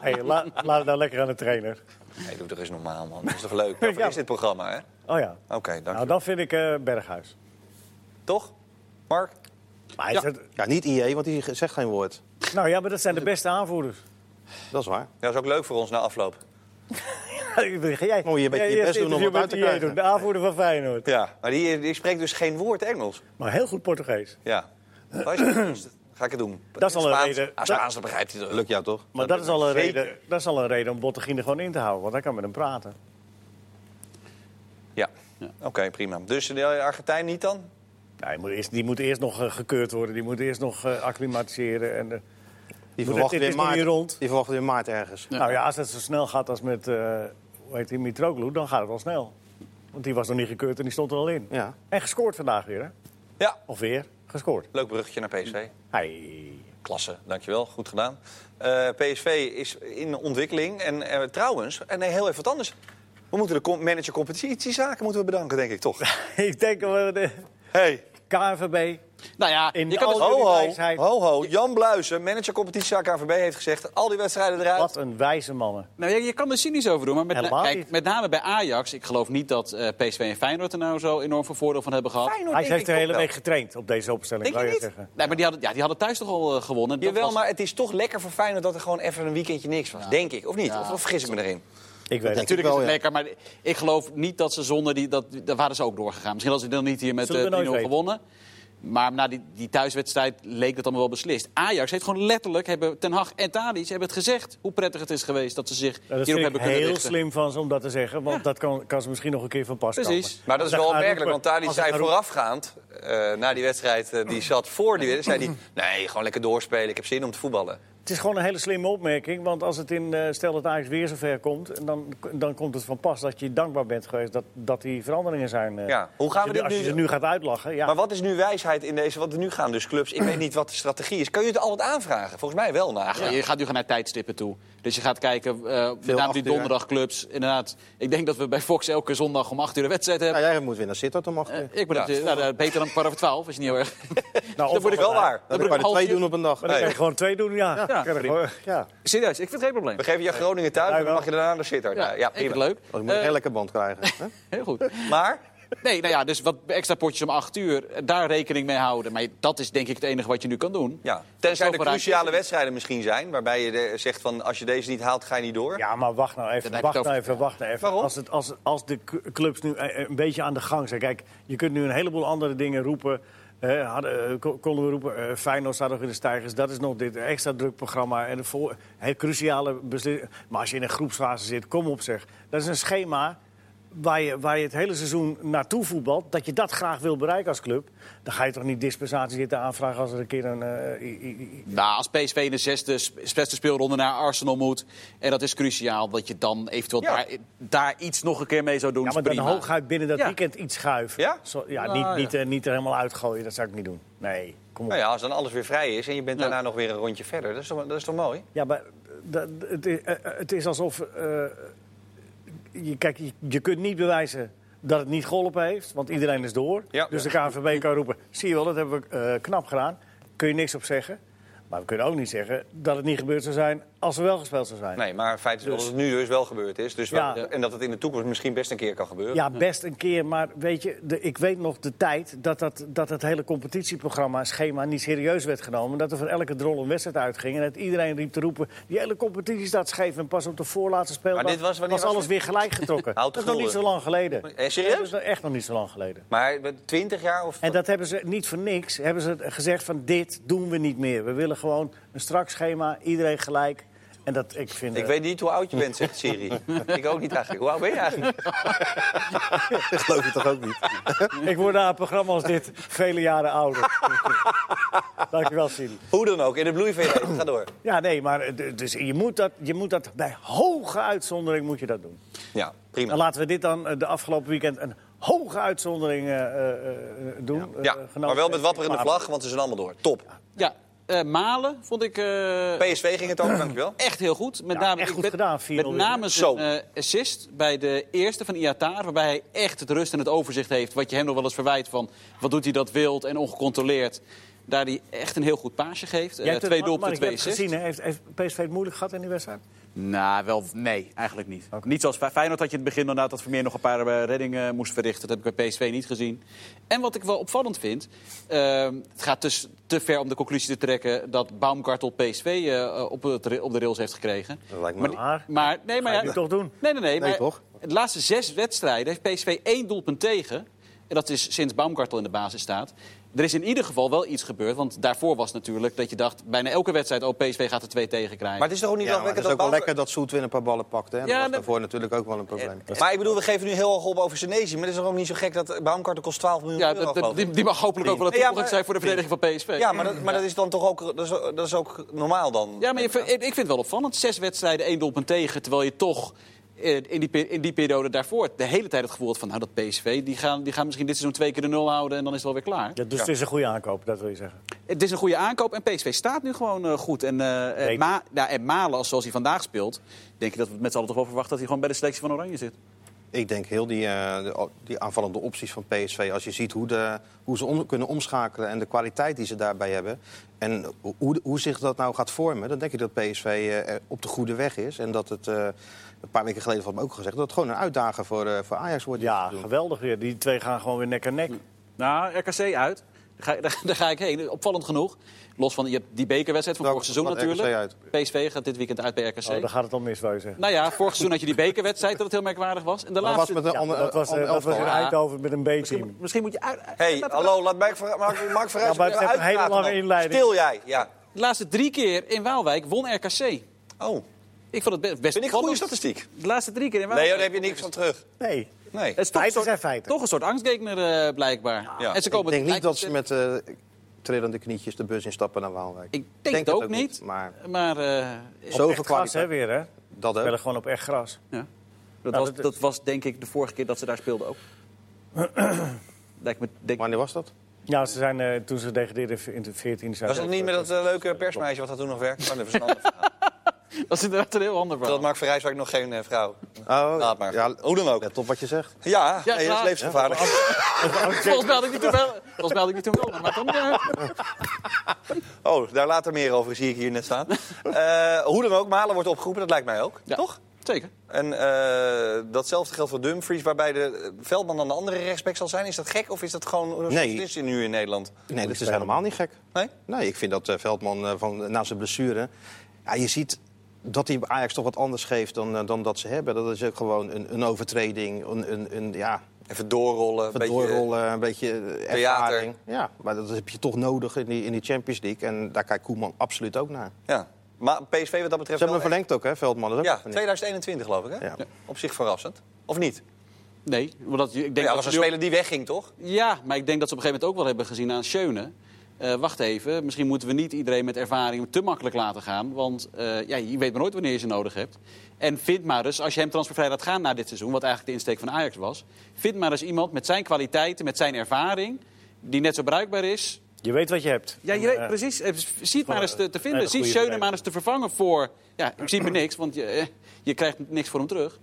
[SPEAKER 2] Hey, la- laat het nou lekker aan de trainer.
[SPEAKER 1] Nee, doe toch eens normaal, man. Dat is toch leuk? Daarvoor
[SPEAKER 2] Ja.
[SPEAKER 1] is dit programma, hè? Oké,
[SPEAKER 2] Oh ja.
[SPEAKER 1] dank je.
[SPEAKER 2] Nou, dan vind ik eh, Berghuis.
[SPEAKER 1] Toch? Mark?
[SPEAKER 2] Maar hij
[SPEAKER 3] Ja.
[SPEAKER 2] zegt-
[SPEAKER 4] Ja, niet IE, want die zegt geen woord.
[SPEAKER 2] nou ja, maar dat zijn de beste aanvoerders.
[SPEAKER 4] Dat is waar.
[SPEAKER 1] Dat is ook leuk voor ons na afloop.
[SPEAKER 2] Ga jij,
[SPEAKER 4] Moet je een beetje
[SPEAKER 2] jij
[SPEAKER 4] je
[SPEAKER 2] eerst
[SPEAKER 4] best doen om
[SPEAKER 2] interview
[SPEAKER 4] het uit te
[SPEAKER 2] met IE
[SPEAKER 4] krijgen.
[SPEAKER 2] doen, De aanvoerder van Feyenoord.
[SPEAKER 1] Ja. Maar die, die spreekt dus geen woord Engels.
[SPEAKER 2] Maar heel goed Portugees.
[SPEAKER 1] Ja. Waar is het? Ga ik het doen.
[SPEAKER 2] Dat is al een
[SPEAKER 1] Spaans.
[SPEAKER 2] reden.
[SPEAKER 1] Ah, Spaans, dat begrijpt hij toch.
[SPEAKER 4] Lukt jou toch?
[SPEAKER 2] Maar dat is, al een
[SPEAKER 1] Zeker.
[SPEAKER 2] reden, dat is al een reden om Bottegien er gewoon in te houden. Want hij kan met hem praten.
[SPEAKER 1] Ja. Oké, prima. Dus de Argentijn niet dan?
[SPEAKER 2] Nou, die, moet eerst, die moet eerst nog eh, gekeurd worden. Die moet eerst nog eh, acclimatiseren. En, eh,
[SPEAKER 4] Die
[SPEAKER 2] Moet
[SPEAKER 4] verwacht
[SPEAKER 2] het- dit
[SPEAKER 4] weer
[SPEAKER 2] is nog
[SPEAKER 4] maart.
[SPEAKER 2] niet rond.
[SPEAKER 4] Die verwacht weer maart ergens.
[SPEAKER 2] Nou ja, als het zo snel gaat als met eh hoe heet die, Mitroglou, dan gaat het wel snel. Want die was nog niet gekeurd en die stond er al in.
[SPEAKER 4] Ja.
[SPEAKER 2] En gescoord vandaag weer, hè?
[SPEAKER 1] Ja.
[SPEAKER 2] Of weer, gescoord.
[SPEAKER 1] Leuk bruggetje naar PSV.
[SPEAKER 2] Mm. Hey.
[SPEAKER 1] Klasse, dankjewel. Goed gedaan. Eh, PSV is in ontwikkeling. En eh, trouwens, en nee, heel even wat anders. We moeten de com- manager competitiezaken moeten we bedanken, denk ik, toch?
[SPEAKER 2] Ik denk dat we de
[SPEAKER 1] Hey.
[SPEAKER 2] KNVB...
[SPEAKER 3] Nou ja,
[SPEAKER 2] In
[SPEAKER 3] je kan
[SPEAKER 2] alle-
[SPEAKER 3] het-
[SPEAKER 1] Ho, ho,
[SPEAKER 2] wijsheid.
[SPEAKER 1] ho, ho. Jan Bluizen, manager competitiezaak KVB, heeft gezegd... al die wedstrijden eruit.
[SPEAKER 2] Wat een wijze mannen.
[SPEAKER 3] nou, je, je kan er cynisch over doen, maar met,
[SPEAKER 2] Helemaal
[SPEAKER 3] kijk,
[SPEAKER 2] niet.
[SPEAKER 3] met name bij Ajax... ik geloof niet dat eh, PSV en Feyenoord er nou zo enorm veel voordeel van hebben gehad.
[SPEAKER 1] Feyenoord
[SPEAKER 2] Hij
[SPEAKER 1] denk
[SPEAKER 2] heeft
[SPEAKER 1] ik
[SPEAKER 2] de
[SPEAKER 1] toch
[SPEAKER 2] hele
[SPEAKER 1] wel.
[SPEAKER 2] week getraind op deze opstelling,
[SPEAKER 1] Denk
[SPEAKER 2] wou
[SPEAKER 1] je
[SPEAKER 2] je
[SPEAKER 1] niet?
[SPEAKER 2] zeggen.
[SPEAKER 3] Nee, maar die hadden, ja, die hadden thuis toch al eh, gewonnen. Dat
[SPEAKER 1] Jawel,
[SPEAKER 3] was-
[SPEAKER 1] maar het is toch lekker voor Feyenoord dat er gewoon even een weekendje niks was. Denk ik, of niet? Of, of vergis ik me erin?
[SPEAKER 2] Ik weet het.
[SPEAKER 4] denk ik
[SPEAKER 3] Natuurlijk is
[SPEAKER 4] wel,
[SPEAKER 3] het
[SPEAKER 4] ja.
[SPEAKER 3] lekker, maar ik geloof niet dat ze zonder die... Dat, daar waren ze ook doorgegaan. Misschien hadden ze dan niet hier met
[SPEAKER 2] Zullen we
[SPEAKER 3] eh, 3-0
[SPEAKER 2] nooit weten.
[SPEAKER 3] gewonnen. Maar na die, die thuiswedstrijd leek het allemaal wel beslist. Ajax heeft gewoon letterlijk, hebben Ten Hag en Tadic hebben het gezegd... hoe prettig het is geweest dat ze zich
[SPEAKER 2] Ja, dat
[SPEAKER 3] hierop
[SPEAKER 2] vind ik
[SPEAKER 3] hebben kunnen
[SPEAKER 2] heel
[SPEAKER 3] richten.
[SPEAKER 2] slim van ze om dat te zeggen. Want dat kan, kan ze misschien nog een keer van pas
[SPEAKER 3] Precies.
[SPEAKER 2] komen.
[SPEAKER 1] Maar dat is
[SPEAKER 2] Als
[SPEAKER 1] wel
[SPEAKER 2] hij gaat
[SPEAKER 1] opmerkelijk, want
[SPEAKER 2] roepen-
[SPEAKER 1] Tadic
[SPEAKER 2] als hij
[SPEAKER 1] zei
[SPEAKER 2] gaat
[SPEAKER 1] voorafgaand... eh, na die wedstrijd, eh, die zat voor die wedstrijd... zei hij, nee, gewoon lekker doorspelen, ik heb zin om te voetballen.
[SPEAKER 2] Het is gewoon een hele slimme opmerking. Want als het in, eh, stel dat Ajax weer zover komt, en dan, dan komt het van pas dat je dankbaar bent geweest dat, dat die veranderingen zijn. eh.
[SPEAKER 1] Ja, hoe gaan
[SPEAKER 2] Als
[SPEAKER 1] we dit
[SPEAKER 2] je- als je
[SPEAKER 1] nu...
[SPEAKER 2] ze nu gaat uitlachen, ja.
[SPEAKER 1] Maar wat is nu wijsheid in deze... Want nu gaan dus clubs, ik weet niet wat de strategie is. Kan je het altijd aanvragen? Volgens mij wel, na.
[SPEAKER 3] Ach, Je gaat nu gaan naar tijdstippen toe. Dus je gaat kijken, eh met
[SPEAKER 4] Veel
[SPEAKER 3] name
[SPEAKER 4] acht
[SPEAKER 3] die
[SPEAKER 4] uur.
[SPEAKER 3] donderdagclubs. Inderdaad, ik denk dat we bij Fox elke zondag om 8 uur een wedstrijd hebben.
[SPEAKER 4] Nou, jij moet weer naar Sittard om acht uur.
[SPEAKER 3] Eh, ik ben
[SPEAKER 1] Ja,
[SPEAKER 3] op de- nou, eh, beter dan kwart over twaalf, is niet heel erg.
[SPEAKER 2] nou,
[SPEAKER 3] dat
[SPEAKER 2] of-
[SPEAKER 3] word ik
[SPEAKER 1] Wel waar.
[SPEAKER 3] dan ben
[SPEAKER 4] Dan kan je
[SPEAKER 3] ik
[SPEAKER 4] er twee
[SPEAKER 3] half uur-
[SPEAKER 4] doen op een dag. Oh,
[SPEAKER 2] Maar dan kan je
[SPEAKER 1] Nee.
[SPEAKER 2] gewoon twee doen, ja. Dan kan je
[SPEAKER 1] prima.
[SPEAKER 2] gewoon- ja.
[SPEAKER 3] Serieus, ik vind het geen probleem.
[SPEAKER 1] We geven je Groningen thuis en
[SPEAKER 2] wel.
[SPEAKER 1] dan mag je daarna naar Sittard. Ja, ja
[SPEAKER 3] ik vind
[SPEAKER 1] prima.
[SPEAKER 3] het leuk.
[SPEAKER 4] Dan moet je
[SPEAKER 3] Eh,
[SPEAKER 4] een lekker band krijgen. hè?
[SPEAKER 3] heel goed.
[SPEAKER 1] Maar...
[SPEAKER 3] Nee, nou ja, dus wat extra potjes om acht uur, eh, daar rekening mee houden. Maar dat is denk ik het enige wat je nu kan doen.
[SPEAKER 1] Ja, tenzij er
[SPEAKER 3] Zo vooruit.
[SPEAKER 1] cruciale wedstrijden misschien zijn... waarbij je de- zegt van als je deze niet haalt, ga je niet door.
[SPEAKER 2] Ja, maar wacht nou even,
[SPEAKER 3] Dan heb
[SPEAKER 2] wacht
[SPEAKER 3] je het
[SPEAKER 2] nou
[SPEAKER 3] over-
[SPEAKER 2] even, wacht nou even.
[SPEAKER 1] Waarom?
[SPEAKER 2] Als, het, als, als de cu- clubs nu eh, eh, een beetje aan de gang zijn. Kijk, je kunt nu een heleboel andere dingen roepen. Hè, hadden, eh, ko- konden we roepen, eh, Feyenoord staat nog in de stijgers. Dat is nog dit extra druk programma. En de vol- hè, cruciale beslissingen. Maar als je in een groepsfase zit, kom op zeg. Dat is een schema waar je, waar je het hele seizoen naartoe voetbalt. Dat je dat graag wil bereiken als club. Dan ga je toch niet dispensatie zitten aanvragen als er een keer een... eh, i- i- i-
[SPEAKER 3] Nou, als PSV in de zesde, sp- zesde speelronde naar Arsenal moet... en dat is cruciaal, dat je dan eventueel
[SPEAKER 1] Ja.
[SPEAKER 3] daar, daar iets nog een keer mee zou doen.
[SPEAKER 2] Ja, maar
[SPEAKER 3] is
[SPEAKER 2] dan
[SPEAKER 3] prima.
[SPEAKER 2] hooguit binnen dat
[SPEAKER 3] Ja.
[SPEAKER 2] weekend iets schuiven.
[SPEAKER 1] Ja?
[SPEAKER 2] Zo, ja,
[SPEAKER 3] Nou,
[SPEAKER 2] niet,
[SPEAKER 3] ja.
[SPEAKER 2] Niet, eh, niet er helemaal uitgooien, dat zou ik niet doen. Nee, kom op.
[SPEAKER 1] Nou ja, als dan alles weer vrij is en je bent
[SPEAKER 3] Ja.
[SPEAKER 1] daarna nog weer een rondje verder. Dat is toch, dat is toch mooi?
[SPEAKER 2] Ja, maar eh, dat, het, is, eh, eh, het is alsof... eh, je, kijk, je, je kunt niet bewijzen dat het niet geholpen heeft, want iedereen is door.
[SPEAKER 1] Ja.
[SPEAKER 2] Dus de KNVB kan roepen, zie je wel, dat hebben we eh, knap gedaan. Kun je niks op zeggen. Maar we kunnen ook niet zeggen dat het niet gebeurd zou zijn als er wel gespeeld zou zijn.
[SPEAKER 1] Nee, maar het feit is dat het nu dus wel gebeurd is. Dus
[SPEAKER 2] Ja.
[SPEAKER 1] wel- en dat het in de toekomst misschien best een keer kan gebeuren.
[SPEAKER 2] Ja, best een keer. Maar weet je, de, ik weet nog de tijd dat, dat, dat het hele competitieprogramma, schema, niet serieus werd genomen. Dat er van elke drol een wedstrijd uitging. En dat iedereen riep te roepen, die hele competitie staat scheef. En pas op de voorlaatste speeldag
[SPEAKER 1] dit was- wanneer was
[SPEAKER 2] alles
[SPEAKER 1] dit?
[SPEAKER 2] weer gelijk getrokken.
[SPEAKER 1] Houd de
[SPEAKER 2] dat is nog niet
[SPEAKER 1] gulden.
[SPEAKER 2] zo lang geleden.
[SPEAKER 1] Eh, serieus?
[SPEAKER 2] Dat is nog echt nog niet zo lang geleden.
[SPEAKER 1] Maar met 20 jaar of...
[SPEAKER 2] En dat hebben ze niet voor niks. Hebben ze gezegd van dit doen we niet meer. We willen gewoon een strak schema, iedereen gelijk. En dat ik vind.
[SPEAKER 1] Ik
[SPEAKER 2] eh,
[SPEAKER 1] weet niet hoe oud je bent, zegt Siri. ik ook niet eigenlijk. Hoe oud ben je eigenlijk?
[SPEAKER 4] Dat geloof je toch ook niet?
[SPEAKER 2] ik word na een programma als dit vele jaren ouder. Dankjewel, Siri.
[SPEAKER 1] Hoe dan ook, in de bloei van je leven. Ga door.
[SPEAKER 2] Ja, nee, maar eh, d- dus je, moet dat, je moet dat bij hoge uitzondering moet je dat doen.
[SPEAKER 1] Ja,
[SPEAKER 2] En
[SPEAKER 1] prima.
[SPEAKER 2] laten we dit dan eh, de afgelopen weekend een hoge uitzondering eh, eh, eh, doen. eh,
[SPEAKER 1] Ja,
[SPEAKER 2] genomen.
[SPEAKER 1] maar wel met wapperende
[SPEAKER 2] Maar-
[SPEAKER 1] vlag, want ze zijn allemaal door. Top.
[SPEAKER 3] Ja, eh, Malen vond ik... eh,
[SPEAKER 1] PSV ging het ook, dankjewel.
[SPEAKER 3] Echt heel goed. Met
[SPEAKER 2] Ja,
[SPEAKER 3] name,
[SPEAKER 2] echt
[SPEAKER 3] ik
[SPEAKER 2] goed
[SPEAKER 3] ben-
[SPEAKER 2] gedaan, 4-0
[SPEAKER 3] Met name
[SPEAKER 1] Zo.
[SPEAKER 3] zijn eh, assist bij de eerste van Iatar. Waarbij hij echt het rust en het overzicht heeft. Wat je hem nog wel eens verwijt van wat doet hij dat wild en ongecontroleerd. Daar die echt een heel goed paasje geeft. Eh,
[SPEAKER 2] Jij hebt het-
[SPEAKER 3] twee
[SPEAKER 2] Mark,
[SPEAKER 3] doelpunten,
[SPEAKER 2] je
[SPEAKER 3] twee
[SPEAKER 2] hebt het
[SPEAKER 3] assists.
[SPEAKER 2] gezien, hè? heeft, heeft PSV het moeilijk gehad in die wedstrijd?
[SPEAKER 3] Nou, wel, nee, eigenlijk niet. Niet zoals bij Feyenoord had je in het begin inderdaad dat Vermeer nog een paar eh, reddingen moest verrichten. Dat heb ik bij PSV niet gezien. En wat ik wel opvallend vind, ehm, het gaat dus te ver om de conclusie te trekken dat Baumgartel PSV eh, op, het, ra- op de rails heeft gekregen.
[SPEAKER 4] Dat lijkt me
[SPEAKER 3] Maar,
[SPEAKER 4] wel.
[SPEAKER 2] Maar-
[SPEAKER 3] die- maar nee, maar
[SPEAKER 2] Ga je
[SPEAKER 3] ja,
[SPEAKER 2] nu toch doen?
[SPEAKER 3] Nee, nee, nee.
[SPEAKER 4] Nee,
[SPEAKER 3] maar
[SPEAKER 4] toch?
[SPEAKER 3] De laatste zes wedstrijden heeft PSV één doelpunt tegen. En dat is sinds Baumgartel in de basis staat. Er is in ieder geval wel iets gebeurd. Want daarvoor was natuurlijk dat je dacht... bijna elke wedstrijd, oh, PSV gaat er twee tegen krijgen.
[SPEAKER 1] Maar het is toch ook niet
[SPEAKER 4] Ja, maar
[SPEAKER 1] wel
[SPEAKER 4] het is
[SPEAKER 1] lekker
[SPEAKER 4] ook
[SPEAKER 1] dat
[SPEAKER 4] wel
[SPEAKER 1] Bouwman-
[SPEAKER 4] lekker dat Soet weer een paar ballen pakt. Hè? Dat
[SPEAKER 3] Ja,
[SPEAKER 4] was
[SPEAKER 3] dat-
[SPEAKER 4] daarvoor natuurlijk ook wel een probleem.
[SPEAKER 1] Maar ik bedoel, we geven nu heel erg op over Senezi. Maar het is toch ook niet zo gek dat Baumkarten kost 12 miljoen
[SPEAKER 3] Ja,
[SPEAKER 1] euro,
[SPEAKER 3] dat, dat-
[SPEAKER 1] geloof ik?
[SPEAKER 3] die, die mag hopelijk ook wel het
[SPEAKER 1] Ja, maar-
[SPEAKER 3] toegang zijn voor de verdediging van PSV.
[SPEAKER 1] Ja, maar dat, maar dat is dan toch ook, dat is, dat is ook normaal dan?
[SPEAKER 3] Ja, maar je, vind- ik vind het wel opvallend. Zes wedstrijden, één doelpunt tegen. Terwijl je toch eh, in die, pe- in die periode daarvoor de hele tijd het gevoel had van... nou, dat PSV, die gaan, die gaan misschien dit seizoen twee keer de nul houden en dan is het alweer klaar.
[SPEAKER 2] Ja, dus
[SPEAKER 1] Ja.
[SPEAKER 2] het is een goede aankoop, dat wil je zeggen.
[SPEAKER 3] Het is een goede aankoop en PSV staat nu gewoon eh, goed. En, eh, eh,
[SPEAKER 2] Zeker.
[SPEAKER 3] Ma- ja, en Malen, als- zoals hij vandaag speelt... denk ik dat we met z'n allen toch wel verwachten dat hij gewoon bij de selectie van Oranje zit.
[SPEAKER 4] Ik denk heel die, eh, de- die aanvallende opties van PSV. Als je ziet hoe, de, hoe ze om, kunnen omschakelen en de kwaliteit die ze daarbij hebben. En ho- hoe, hoe zich dat nou gaat vormen. Dan denk ik dat PSV eh, er op de goede weg is. En dat het, eh, een paar weken geleden had me ook gezegd... dat het gewoon een uitdager voor, eh, voor Ajax wordt. dit
[SPEAKER 2] Ja, Hm,
[SPEAKER 4] seizoen.
[SPEAKER 2] Oh, geweldig weer. Die twee gaan gewoon weer nek aan nek.
[SPEAKER 3] Nou, RKC uit. Dan ga, daar, daar ga ik heen. Opvallend genoeg. Los van je hebt die bekerwedstrijd van
[SPEAKER 2] Nou,
[SPEAKER 4] Welke
[SPEAKER 3] vorig seizoen
[SPEAKER 4] gaat RKC
[SPEAKER 3] natuurlijk. PSV gaat dit weekend uit bij RKC.
[SPEAKER 2] Oh, dan gaat het al mis, wou je zeggen.
[SPEAKER 3] Nou ja, vorig seizoen had je die bekerwedstrijd dat het heel merkwaardig was. En de
[SPEAKER 4] Dat was
[SPEAKER 3] laatste...
[SPEAKER 4] met een
[SPEAKER 2] Ja,
[SPEAKER 4] ander,
[SPEAKER 2] dat was, eh,
[SPEAKER 4] ander
[SPEAKER 2] dat was in
[SPEAKER 4] elftal.
[SPEAKER 3] Ja.
[SPEAKER 2] Eindhoven met een B-team.
[SPEAKER 3] Misschien moet je uit...
[SPEAKER 1] Hé, hey, hallo, laat Mark, Ver- Mark, Mark Verrijs
[SPEAKER 2] Ja, maar het
[SPEAKER 1] even
[SPEAKER 2] heeft een hele
[SPEAKER 1] uitpraten
[SPEAKER 2] lange
[SPEAKER 1] dan.
[SPEAKER 2] inleiding.
[SPEAKER 1] Stil jij, ja.
[SPEAKER 3] De laatste drie keer in Waalwijk won RKC.
[SPEAKER 1] Oh,
[SPEAKER 3] Ik vond het be- best
[SPEAKER 1] vind ik een goede
[SPEAKER 3] spannend.
[SPEAKER 1] statistiek.
[SPEAKER 3] De laatste drie keer in
[SPEAKER 1] Nee,
[SPEAKER 3] Waalwijk.
[SPEAKER 1] joh, daar heb je niks aan terug.
[SPEAKER 2] Nee.
[SPEAKER 1] Nee.
[SPEAKER 3] Het is toch, een
[SPEAKER 2] Feiten
[SPEAKER 3] soort,
[SPEAKER 2] zijn feiten.
[SPEAKER 3] toch een soort angstgegner eh, blijkbaar.
[SPEAKER 1] Ja.
[SPEAKER 3] En ze
[SPEAKER 4] Ik
[SPEAKER 3] komen
[SPEAKER 4] denk niet dat ze
[SPEAKER 3] eigenlijk-
[SPEAKER 4] met eh trillende knietjes de bus instappen naar Waalwijk.
[SPEAKER 3] Ik denk, het ook niet.
[SPEAKER 4] Maar
[SPEAKER 3] Maar eh,
[SPEAKER 4] zoveel
[SPEAKER 2] Echt gras, hè,
[SPEAKER 4] kwaliteit.
[SPEAKER 2] weer, hè?
[SPEAKER 4] Dat
[SPEAKER 2] We
[SPEAKER 4] ook.
[SPEAKER 2] spelen gewoon op echt gras.
[SPEAKER 3] ja. dat,
[SPEAKER 2] Nou,
[SPEAKER 3] was,
[SPEAKER 2] dat-
[SPEAKER 3] dat was denk ik de vorige keer dat ze daar speelden ook. Lijkt me, denk,
[SPEAKER 4] Wanneer was dat?
[SPEAKER 2] Ja, ze zijn, eh, toen ze degradeerden in de 14 zijn
[SPEAKER 1] Was het niet met dat eh, leuke persmeisje wat dat toen nog werkte? Oh, dat was een ander verhaal.
[SPEAKER 3] dat is inderdaad een heel ander verhaal.
[SPEAKER 1] Dat Mark Verrijs ook nog geen eh, vrouw.
[SPEAKER 4] Oh,
[SPEAKER 1] Laat maar.
[SPEAKER 4] Ja,
[SPEAKER 1] Hoe dan ook.
[SPEAKER 4] let op wat je zegt.
[SPEAKER 1] Ja, nee,
[SPEAKER 3] Ja,
[SPEAKER 1] dat is
[SPEAKER 3] nou-
[SPEAKER 1] levensgevaarlijk.
[SPEAKER 3] Volgens mij had ik niet toen wel. Volgens mij had ik niet toen wel. Maar dan, eh, ja.
[SPEAKER 1] Oh, daar later meer over, zie ik hier net staan. Eh, hoe dan ook, Malen wordt opgeroepen, dat lijkt mij ook.
[SPEAKER 3] Ja,
[SPEAKER 1] Toch?
[SPEAKER 3] Zeker.
[SPEAKER 1] En eh, datzelfde geldt voor Dumfries, waarbij de eh, Veldman dan de andere rechtsback zal zijn. Is dat gek of is dat gewoon een
[SPEAKER 4] Nee.
[SPEAKER 1] is nu in Nederland?
[SPEAKER 4] Nee, dat is helemaal niet gek.
[SPEAKER 1] Nee?
[SPEAKER 4] Nee, ik vind dat eh, Veldman eh, van, na zijn blessure... Ja, je ziet dat hij Ajax toch wat anders geeft dan, eh, dan dat ze hebben. Dat is ook gewoon een, een overtreding, een, een, een, ja,
[SPEAKER 1] Even doorrollen. Een
[SPEAKER 4] een doorrollen, een beetje eh, ervaring. Ja, maar dat heb je toch nodig in die, in die Champions League. En daar kijkt Koeman absoluut ook naar.
[SPEAKER 1] Beetje, ja. Maar PSV wat dat betreft...
[SPEAKER 4] Ze hebben hem
[SPEAKER 1] wel-
[SPEAKER 4] verlengd ook, hè, Veldman? Dat is ook
[SPEAKER 1] Ja,
[SPEAKER 4] even niet-
[SPEAKER 1] 2021 geloof ik, hè?
[SPEAKER 4] Ja.
[SPEAKER 1] Op zich verrassend. Of niet?
[SPEAKER 3] Nee, omdat je- ik denk
[SPEAKER 1] Ja,
[SPEAKER 3] dat
[SPEAKER 1] was een
[SPEAKER 3] ze nu ook-
[SPEAKER 1] speler die wegging, toch?
[SPEAKER 3] Ja, maar ik denk dat ze op een gegeven moment ook wel hebben gezien aan Schöne. Eh, wacht even, misschien moeten we niet iedereen met ervaring te makkelijk laten gaan. Want eh, ja, je weet maar nooit wanneer je ze nodig hebt. En vind maar eens, als je hem transfervrij laat gaan na dit seizoen... wat eigenlijk de insteek van Ajax was... vind maar eens iemand met zijn kwaliteiten, met zijn ervaring... die net zo bruikbaar is,
[SPEAKER 2] Je weet wat je hebt.
[SPEAKER 3] ja, je
[SPEAKER 2] En,
[SPEAKER 3] weet,
[SPEAKER 2] eh,
[SPEAKER 3] precies. Eh, Ziet maar eens te, te
[SPEAKER 2] hele
[SPEAKER 3] vinden.
[SPEAKER 2] goede
[SPEAKER 3] Zie Schöne
[SPEAKER 2] verdediger.
[SPEAKER 3] maar eens te vervangen voor... Ja, in principe niks, want je, eh, je krijgt niks voor hem terug.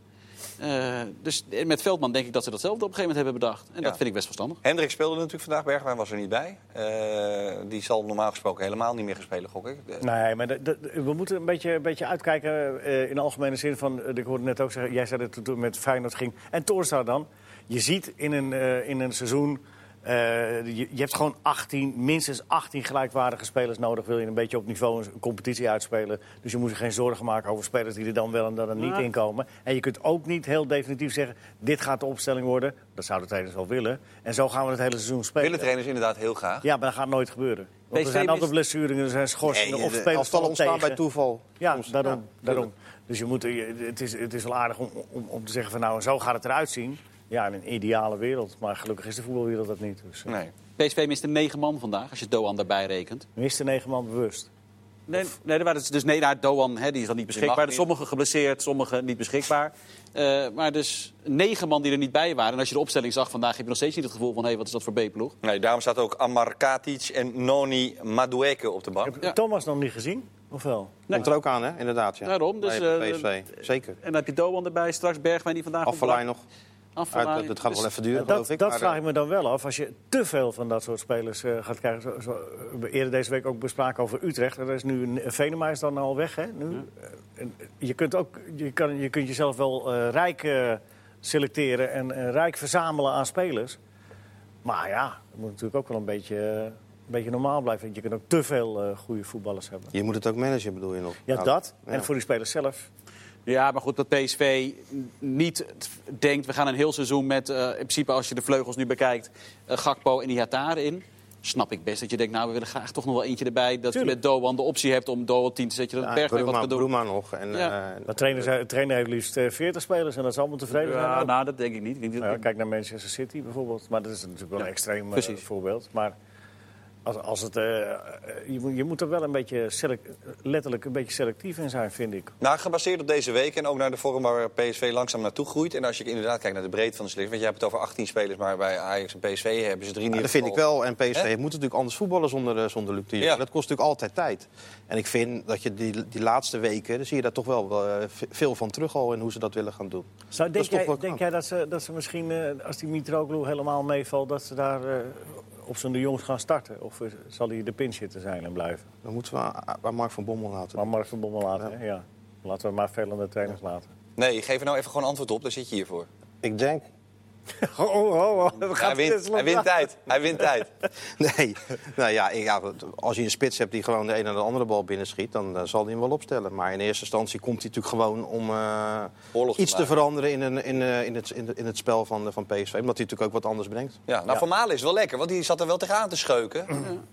[SPEAKER 3] Eh, dus eh, met Veldman denk ik dat ze datzelfde op een gegeven moment hebben bedacht. En
[SPEAKER 1] Ja.
[SPEAKER 3] dat vind ik best verstandig.
[SPEAKER 1] Hendrik speelde natuurlijk vandaag, Bergwijn was er niet bij. Eh, die zal normaal gesproken helemaal niet meer gaan spelen, gok ik. Eh,
[SPEAKER 2] Nee, maar dat- dat- we moeten een beetje, een beetje uitkijken eh, in de algemene zin. Van, eh, ik hoorde net ook zeggen, jij zei dat toen- toen met Feyenoord ging. En Toornstra dan. Je ziet in een, eh, in een seizoen... eh, je, je hebt gewoon 18, minstens 18 gelijkwaardige spelers nodig... wil je een beetje op niveau een competitie uitspelen. Dus je moet je geen zorgen maken over spelers die er dan wel en dan niet in komen. En je kunt ook niet heel definitief zeggen... dit gaat de opstelling worden. Dat zouden trainers wel willen. En zo gaan we het hele seizoen spelen.
[SPEAKER 1] Willen trainers inderdaad heel graag.
[SPEAKER 2] Ja, maar dat gaat nooit gebeuren. Want er
[SPEAKER 3] PSV
[SPEAKER 2] zijn
[SPEAKER 3] mist-
[SPEAKER 2] altijd blessuren, er zijn schorsingen
[SPEAKER 4] Nee,
[SPEAKER 2] of
[SPEAKER 4] de
[SPEAKER 2] spelers
[SPEAKER 4] elftallen
[SPEAKER 2] vallen
[SPEAKER 4] ontstaan
[SPEAKER 2] tegen.
[SPEAKER 4] bij toeval.
[SPEAKER 2] Ja,
[SPEAKER 4] Soms.
[SPEAKER 2] daarom.
[SPEAKER 4] Ja,
[SPEAKER 2] daarom. Dus je moet, je- het, is, het is wel aardig om, om, om te zeggen van nou, zo gaat het eruit zien. Ja, in een ideale wereld. Maar gelukkig is de voetbalwereld dat niet. Dus, eh,
[SPEAKER 1] Nee.
[SPEAKER 3] PSV miste negen man vandaag, als je Doan daarbij rekent.
[SPEAKER 2] Miste negen man bewust.
[SPEAKER 3] Nee, nee, er waren dus- dus nee, naar Doan hè, die is dan niet
[SPEAKER 1] mag
[SPEAKER 3] beschikbaar.
[SPEAKER 1] niet.
[SPEAKER 3] Sommigen geblesseerd, sommigen niet beschikbaar. Eh, maar dus negen man die er niet bij waren. En als je de opstelling zag vandaag, heb je nog steeds niet het gevoel van... hé, wat is dat voor B-ploeg?
[SPEAKER 1] nee, daarom staat ook Amar Katic en Noni Madueke op de bank.
[SPEAKER 2] Heb je Thomas nog niet gezien? Of wel?
[SPEAKER 4] Komt er ook aan, hè? Inderdaad, ja.
[SPEAKER 3] Daarom, dus,
[SPEAKER 4] Bij
[SPEAKER 3] eh,
[SPEAKER 4] PSV, zeker.
[SPEAKER 3] En dan heb je Doan erbij, straks Bergwijn die vandaag... op
[SPEAKER 4] Afvallei
[SPEAKER 3] blak-
[SPEAKER 4] nog.
[SPEAKER 3] Afvalaai.
[SPEAKER 4] Uit, eh, dat gaat
[SPEAKER 3] Dus-
[SPEAKER 4] wel even duren,
[SPEAKER 2] dat
[SPEAKER 4] geloof ik.
[SPEAKER 2] dat
[SPEAKER 4] maar,
[SPEAKER 2] vraag
[SPEAKER 4] eh,
[SPEAKER 2] ik me dan wel af. Als je te veel van dat soort spelers eh, gaat krijgen. Zo, zo, we eerder deze week ook bespraken over Utrecht. Er is nu een, eh, Venema is dan al weg. Hè, nu. Eh, en Je, kunt ook, je, kan, je kunt jezelf wel eh, rijk eh, selecteren en eh, rijk verzamelen aan spelers. Maar ja, het moet natuurlijk ook wel een beetje, eh, een beetje normaal blijven. Want Je kunt ook te veel eh, goede voetballers hebben.
[SPEAKER 4] Je moet het ook managen, bedoel je nog?
[SPEAKER 2] Ja,
[SPEAKER 4] Nou,
[SPEAKER 2] dat.
[SPEAKER 4] ja.
[SPEAKER 2] En voor die spelers zelf.
[SPEAKER 3] Ja, maar goed, dat PSV niet denkt... we gaan een heel seizoen met, eh, in principe als je de vleugels nu bekijkt... eh, Gakpo en die Hatare in. Snap ik best dat je denkt, nou, we willen graag toch nog wel eentje erbij... dat
[SPEAKER 2] Tuurlijk.
[SPEAKER 3] je met Doan de optie hebt om Doan 10 te zetten... dat
[SPEAKER 4] Ja,
[SPEAKER 3] Bergwijn wat
[SPEAKER 4] Bruma-
[SPEAKER 3] kan doen.
[SPEAKER 4] Bruma nog. En,
[SPEAKER 3] Ja.
[SPEAKER 4] eh,
[SPEAKER 2] De trainer, zei- de trainer heeft liefst eh, 40 spelers en dat is allemaal tevreden. zijn.
[SPEAKER 3] Ja,
[SPEAKER 2] Nou,
[SPEAKER 3] nou, dat denk ik niet. Ik denk dat-
[SPEAKER 2] Nou ja, kijk naar Manchester City bijvoorbeeld. Maar dat is natuurlijk wel een
[SPEAKER 3] Ja,
[SPEAKER 2] extreem eh,
[SPEAKER 3] precies.
[SPEAKER 2] voorbeeld. Maar als, als het, eh, eh, je, moet, je moet er wel een beetje selec- letterlijk een beetje selectief in zijn, vind ik.
[SPEAKER 1] Nou, gebaseerd op deze week en ook naar de vorm waar PSV langzaam naartoe groeit. En als je inderdaad kijkt naar de breedte van de selectie. Want jij hebt het over 18 spelers, maar bij Ajax en PSV hebben ze drie
[SPEAKER 4] Ja,
[SPEAKER 1] nieuwe.
[SPEAKER 4] dat vind ik wel. En PSV
[SPEAKER 1] Hè?
[SPEAKER 4] moet natuurlijk anders voetballen zonder, eh, zonder Luc de Jong.
[SPEAKER 1] Ja.
[SPEAKER 4] Dat kost natuurlijk altijd tijd. En ik vind dat je die, die laatste weken, dan zie je daar toch wel eh, ve- veel van terug al in hoe ze dat willen gaan doen.
[SPEAKER 2] Zou,
[SPEAKER 4] Dat
[SPEAKER 2] denk
[SPEAKER 4] is toch
[SPEAKER 2] jij,
[SPEAKER 4] wel
[SPEAKER 2] denk jij
[SPEAKER 4] knap.
[SPEAKER 2] dat ze, dat ze misschien, eh, als die Mitroglou helemaal meevalt... dat ze daar eh, op zijn de jongs gaan starten? Of eh, zal hij de pinch hitter zijn en blijven?
[SPEAKER 4] Dan moeten we aan, aan Mark van Bommel laten.
[SPEAKER 2] Maar Mark van Bommel laten, hè? ja. Laten we maar veel aan de trainers laten.
[SPEAKER 1] Nee, geef er nou even gewoon antwoord op, daar zit je hier voor.
[SPEAKER 4] Ik denk
[SPEAKER 2] Oh, oh, oh. We gaan
[SPEAKER 1] Hij wint,
[SPEAKER 2] Tesla-
[SPEAKER 1] hij wint tijd. Hij wint tijd.
[SPEAKER 4] Nee, nou ja, ik- ja, als je een spits hebt die gewoon de een en de andere bal binnenschiet, dan, eh, zal hij hem wel opstellen. Maar in eerste instantie komt hij natuurlijk gewoon om eh,
[SPEAKER 1] Oorlog te
[SPEAKER 4] iets te
[SPEAKER 1] maken.
[SPEAKER 4] veranderen in, een, in, eh, in, het, in, het- in het spel van, eh, van PSV. Omdat hij natuurlijk ook wat anders brengt.
[SPEAKER 1] Ja, nou, Van Malen is wel lekker, want die zat er wel tegenaan te scheuken.